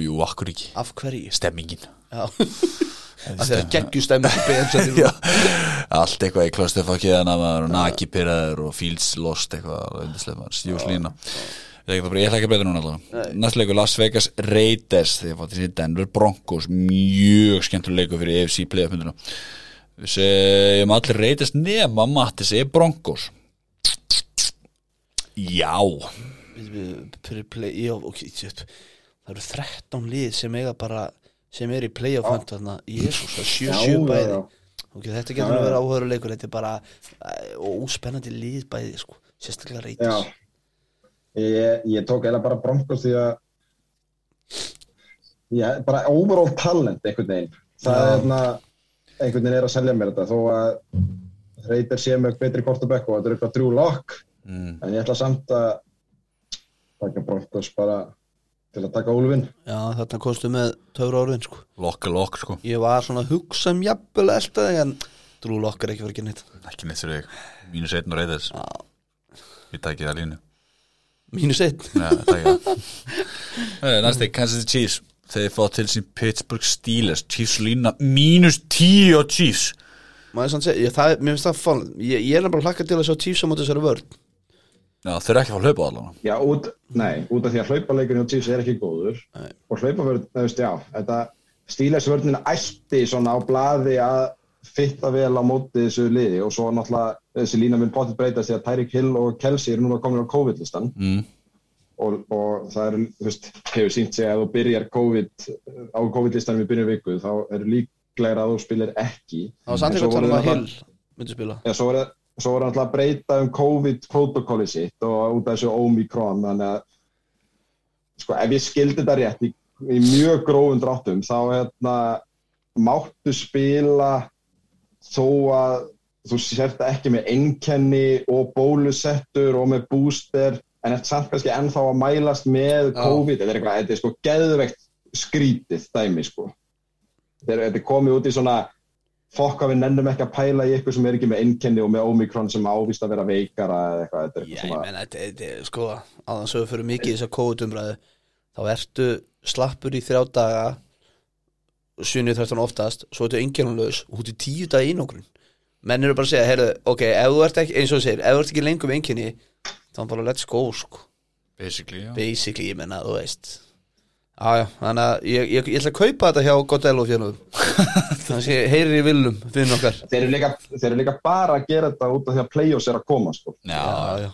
jú, akkur ekki af hverju Stemmingin Já, af því að geggjur stemmi Já, allt eitthvað í klostefakið hann að maður og naki pyrraður og fields lost eitthvað undislega maður, stjús lína ég ætla ekki bara- ég ætla ekki að breyta núna allavega næst leikur Las Vegas Raiders þegar fóttir sér Denver Broncos mjög skemmtur leikur fyrir EFC playoffmynduna við segjum allir Raiders nema Mattis E. Broncos já Fyrir play, já, ok shit. Það eru 13 lið sem eiga bara sem er í playoff hunt þarna Jésús, það er 7-7 Já, já, bæði já. ok, þetta getur að vera áhöru leikur þetta er bara eh, óspennandi lið bæði, sko, sérstaklega já reytis ég, ég tók eða bara Broncos því að ég, bara overall talent einhvern veginn það er hérna einhvern veginn er að selja mér þetta þó að reytir sé með betri kortabekk og þetta er eitthvað drú lokk mm. en ég ætla samt að taka Broncos bara til að taka Úlfinn Já, þarna komstu með töfra orðin sko. lokk er lokk sko Ég var svona að hugsa um jafnvel elda þig en Drú Lokk er ekki verið að gera neitt ekki neitt fyrir þig, mínus einn og Raiders ég takki það línu Mínus einn Nei, það ekki það. Næsti, Kansas City Chiefs Þeir fá til sín Pittsburgh Steelers Chiefs lína mínus 10 á Chiefs Maður sann segja, ég, það, er- mér finnst það fann Ég, ég er bara hlakka til að sjá tífsa móti þessari vörn Já, þeir eru ekki að fá að hlaupa allan Já, út, nei, út af því að hlaupaleikurinn hjá Chiefs er ekki góður Nei. og hlaupavörn, þú veist, já, þetta stílæsvörnin ætti svona á blaði að fitta vel á móti þessu liði og svo náttúrulega þessi lína mun bóttið breytast því að Tyreek Hill og Kelsey eru núna komin á COVID-listan mm. og, og það eru, þú veist, hefur sínt sig að ef þú byrjar COVID á COVID-listanum í byrjun viku þá eru líklegra að þú spilir ekki Það var sann En ekki svo að tala um voru að þarna- Hill myndi spila Já, svo var, svo var hann alltaf að breyta um COVID-protokolli sitt og út af þessu Omikron, þannig að sko, ef ég skildi þetta rétt í, í mjög grófum dráttum, þá hérna, máttu spila þó að þú sért ekki með einkenni og bólusettur og með booster, en eftir samt kannski ennþá að mælast með COVID, þetta er eitthvað, þetta er sko geðveikt skrítið dæmi, sko. Þegar þetta er komið út í svona fokk að við nennum ekki að pæla í eitthvað sem er ekki með einkenni og með Omikron sem ávist að vera veikara eða eitthvað, þetta er Já, eitthvað ég svona menna, þetta- þetta er sko Aðan sögur fyrir mikið í þess að kóðutumræðu Þá ertu slappur í þrjá daga 7.13 oftast Svo ertu engjarnlaus Út í tíu daga einogrun Menn eru bara að segja, heyrðu, ok, ef þú ert ekki Eins og þú segir, ef þú ert ekki lengur með enginni Þá er bara let's go, sko Basically, já basically, ég menna, þú veist Jájá, þannig að ég, ég, ég ætla að kaupa þetta hjá Godello félagum Þannig að heyrir í villum, finn okkar þeir eru, líka, þeir eru líka bara að gera þetta út af því að play-offs er að koma sko. Já, Jájá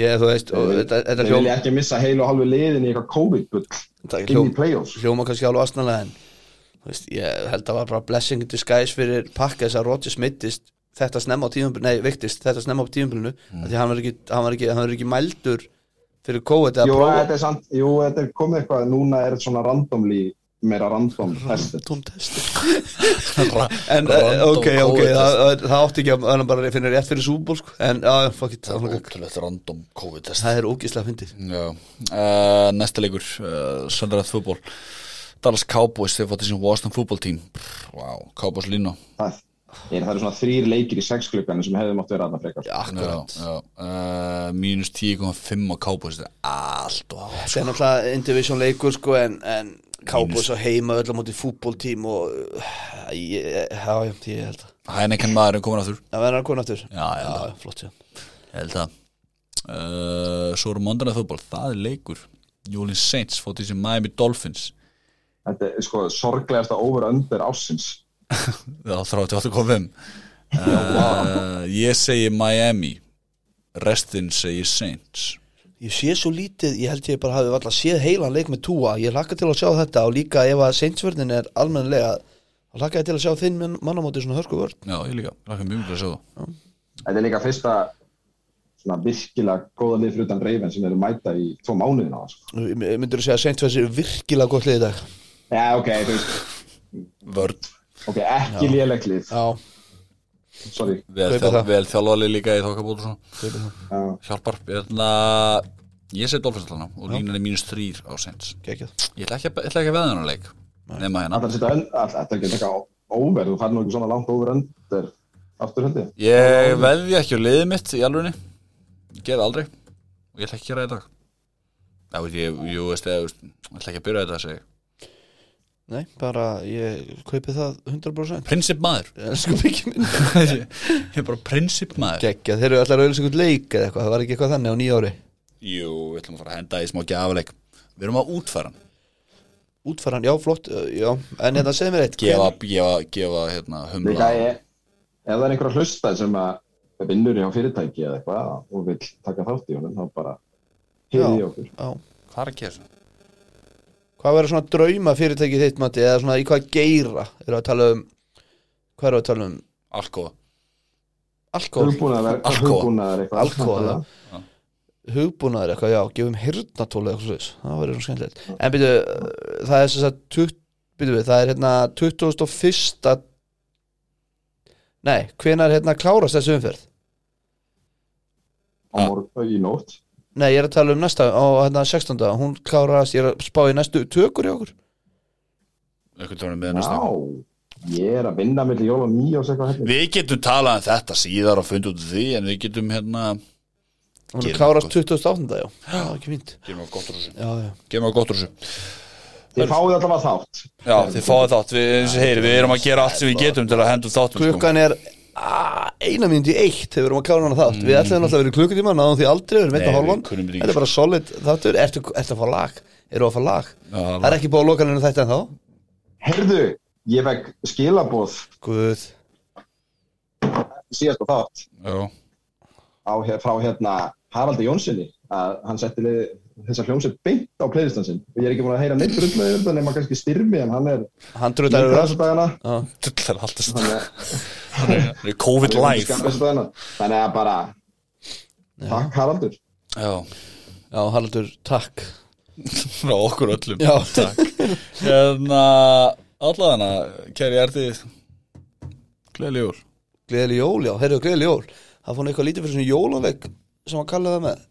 Ég, þú veist, og þetta, þetta þeir hljóma vilja ekki missa heil og halvu liðin í eitthvað COVID-bull þetta inn í hljóm, play-offs hljóma kannski alveg astnalega en þú veist, ég held að það var bara blessing in disguise fyrir pakka þess að Rodgers mittist þetta snemma á tíðumbilinu, nei, viktist þetta snemma á tíðumbilinu, mm. því hann var ekki, hann var ekki, hann var ekki mældur fyrir COVID E jú, eða prófa þetta er sant, jú, þetta er komið eitthvað núna er þetta svona randomly meira random testið Tóm testi En, en, eh, ok, ok, það, það- það átti ekki að hann bara finna rétt fyrir súból sko. En, já, já, fuck it það var gagn. Ótrúlegt random COVID-test Það er ógislega fyndið Já, uh, næsta leikur uh, Söndarætt fútból Dallas Cowboys, þeir fótið sín Washington fútból tím Wow, Cowboys lína það, Ég- það eru svona þrýr leikir í sex klukkanum sem hefði mátt vera aðna frekar Já, Akkurat já uh, Mínus 10,5 á Cowboys Þetta er allt og Þetta er náttúrulega indivision leikur sko, en, en Kábos og heima öll á móti fútbóltím og uh, ég, já, já, ég held að Hæneken maðurinn komin aftur Það verður að koma aftur Já, já, flott sér ég held það uh, Svo eru mondanlega fótból, það er leikur Jólin Saints fótt í sem Miami Dolphins Þetta er sko sorglegasta over-under ásins. Já, 38.5 uh, Ég segi Miami Restin segi Saints Ég sé svo lítið, ég held ég bara hafi alltaf séð heilan leik með túa Ég hlakka til að sjá þetta og líka ef að seinsvörnin er almennlega þá hlakka ég til að sjá þinn mann- mann á móti svona hörku vörn Já, ég líka, lakka mjög mjög að segja það Þetta er líka fyrsta svona virkilega góða lið fyrir utan reyfin sem eru að mæta í tvo mánuðin á það. Sko. Myndur þú segja að seinsvörn er virkilega gott lið í dag Já, ok, þú veist, Vörd ok, ekki lélegt lið, Já, sorry. Vel, Kaupa þjál, það. vel þjálfalið líka í þokkabótu svona Já, Hjálpar, ég ætla Ég segi Dolphins allana og línan er mínus þrýr á Saints geggjað Ég ætla ekki, að- ég ætla ekki að veða hennar leik Nefna hérna Það er að setja, ön- að- þetta er ekki eitthvað over, þú fær nú ekki svona langt over-under aftur held ég. Ég veðja ekki á liðið mitt í alvegni Ég gerði aldrei Og ég ætla ekki að gera þetta Það veit ég, jú veist eða, þú veist, ég ætla ekki að byrja þetta að segja Nei, bara ég kaupi það 100% Prinsip maður Elsku byggja minn Ég er bara prinsip maður Geggjað, þeir eru allar auðvitað einhvern leik eða eitthvað, það var ekki eitthvað þannig á nýja ári Jú, við ætlum að fara að henda í smá gjafleik Við erum að útfæra hann Útfaran, já, flott, uh, já En þetta segir mér eitt Gefa, gefa, gefa, hérna, humla Líka ég, ef það er einhver að hlusta sem að vinnur hjá fyrirtæki eða eitthvað og vill taka þátt í honum, þá bara hýrði í okkur. Já, Hvað er að gera þessu? Hvað verður svona drauma fyrirtækið þitt mati eða svona í hvað geira eru að tala um hvað eru að tala um Allt góða alkohol, Hugbúnaðar, Alkóa. hugbúnaðar eitthvað. Alkóa, já. hugbúnaðar eitthvað, já, gefum hirnatól eða eitthvað svoleiðis, það verður svona skemmtilegt en byrju, uh, það er sem sagt tut, byrju við, það er hérna 2001 nei, hvenær hérna klárast þessu umferð Á morgun, í nótt. nei, ég er að tala um næsta, á hérna 16 hún klárast, ég er að spá í næstu tökur í okkur Einhvern tónum með næsta Já, ég er að vinna millir jól og nýjórs eitthvað hérna. Við getum talað um þetta síðar og fundið út úr því En við getum hérna hún Gerum klárast 2008, já, það er ekki fínt Gerum við gott úr þessu já, já, Gerum við gott úr þessu Þið fáið allavega þátt. Já, þið fáið þátt, við, eins og heyri, við erum að gera allt sem við getum til að henda út þáttum sko. klukkan er a, eina mínúti í eitt þegar við erum að klára hana þátt við ætlum alltaf að vera í klukkutíma, náðum því aldrei við erum einn Nei, og við hálfan, kunnum ekki. þetta er bara solid þáttur, ertu, ertu að fá lag eru að fá lag, Já, það það er ekki búið að loka nefnum þetta en þá Herðu, ég fekk skilaboð guð, síðast og þátt Já, á, hér- frá hérna Haraldi Jónssoni að hann setti lið, þessa hljómsveit beint á playlistan sinn og ég er ekki múin að heyra neitt rulluði um það nema kannski styrmi en hann er hann dröðar yfir allt dagana það er alltaf hann er- Það er COVID hann er life skammastur dagana þannig að bara takk Haraldur Já, já, Haraldur, takk frá okkur öllum já, Hérna, allavega Kæri Ertið Gleðileg jól gleðileg jól, já, heyrðu gleðileg jól það fór hann eitthvað lítið fyrir svona jólavegg sem hann kallaði það með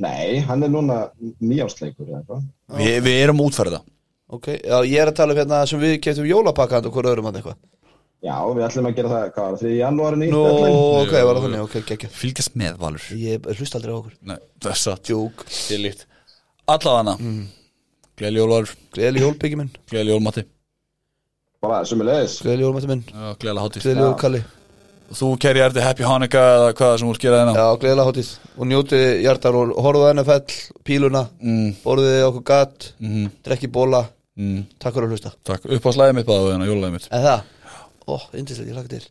nei, hann er núna nýjástleikur eða eitthvað Vi, Við erum útferða ok, já, ég er að tala um hérna sem við keftum jólapakka handa okkur öðrum hann eitthvað já, við ætlum að gera það, hvað var það, 3. janúari nú, ok, var það þannig, ok, geggjað Fylgjast með Valur ég hlust aldrei á okkur, Nei, það er satt djók Tilíkt Allavega mm. Gleðileg jól Valur gleðileg jól, piggi minn, Gleðileg jól Matti bara sömulegis gleðileg jól, mætti minn Já, Gleðilega hátíð gleðileg jól, Kalli Þú kæri Ertið Happy Hanukkah eða hvað sem úr gera hérna. þeirna Já, gleðilega hátíð og njótið hjartaról, horfðu á NFL, píluna mm, borðið okkur gatt, mm, drekki bóla mm. takk fyrir að hlusta Takk, upp á slæðið mitt báðu hérna, jólaðið mitt En það, ó, yndislega, ég lagt til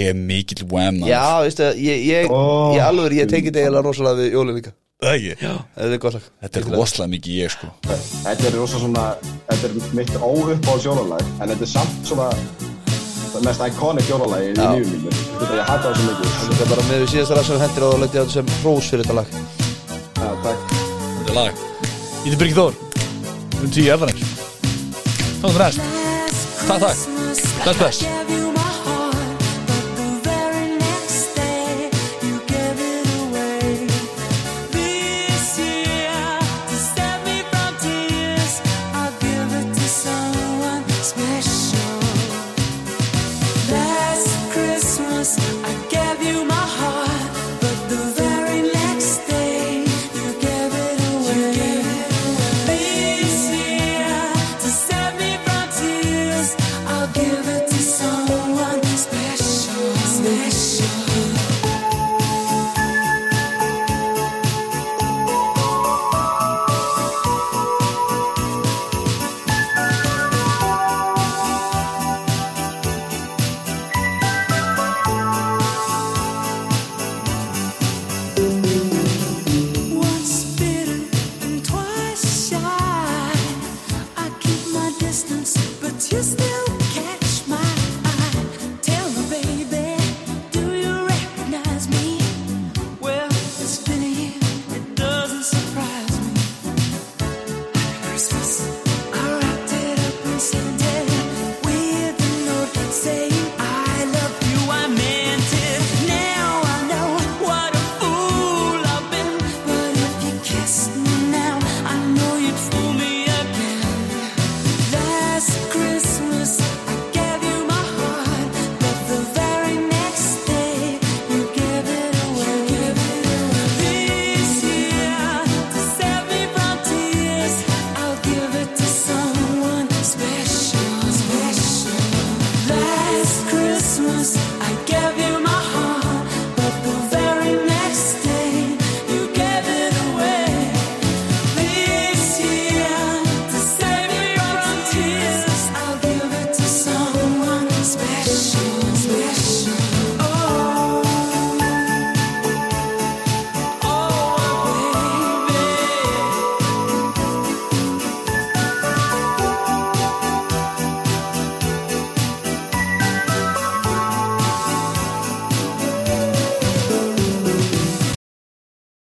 Ég er mikill wham maður. Já, veistu, það, ég, ég, Ó. ég alveg, ég tengi þetta eiginlega rosalega við jólin líka Það ekki? Það er gott lag Þetta er rosalega mikið ég sko þetta er rosa svona, þetta er mitt óupp á jólalag en þetta er samt svona það mest iconic jólalag í lífum mínu þetta ég hata það svo mikið Þetta er bara með við síðasta lag sem við hendir á þá leti ég á þetta sem hrós fyrir þetta lag Já, takk Þetta er lag Ég er Birgir Þór Um tíu erðanir Þá er næst Takk, takk. Bless, bless. I gave you my heart, but the very next day you gave it away. This sure. Oh, oh,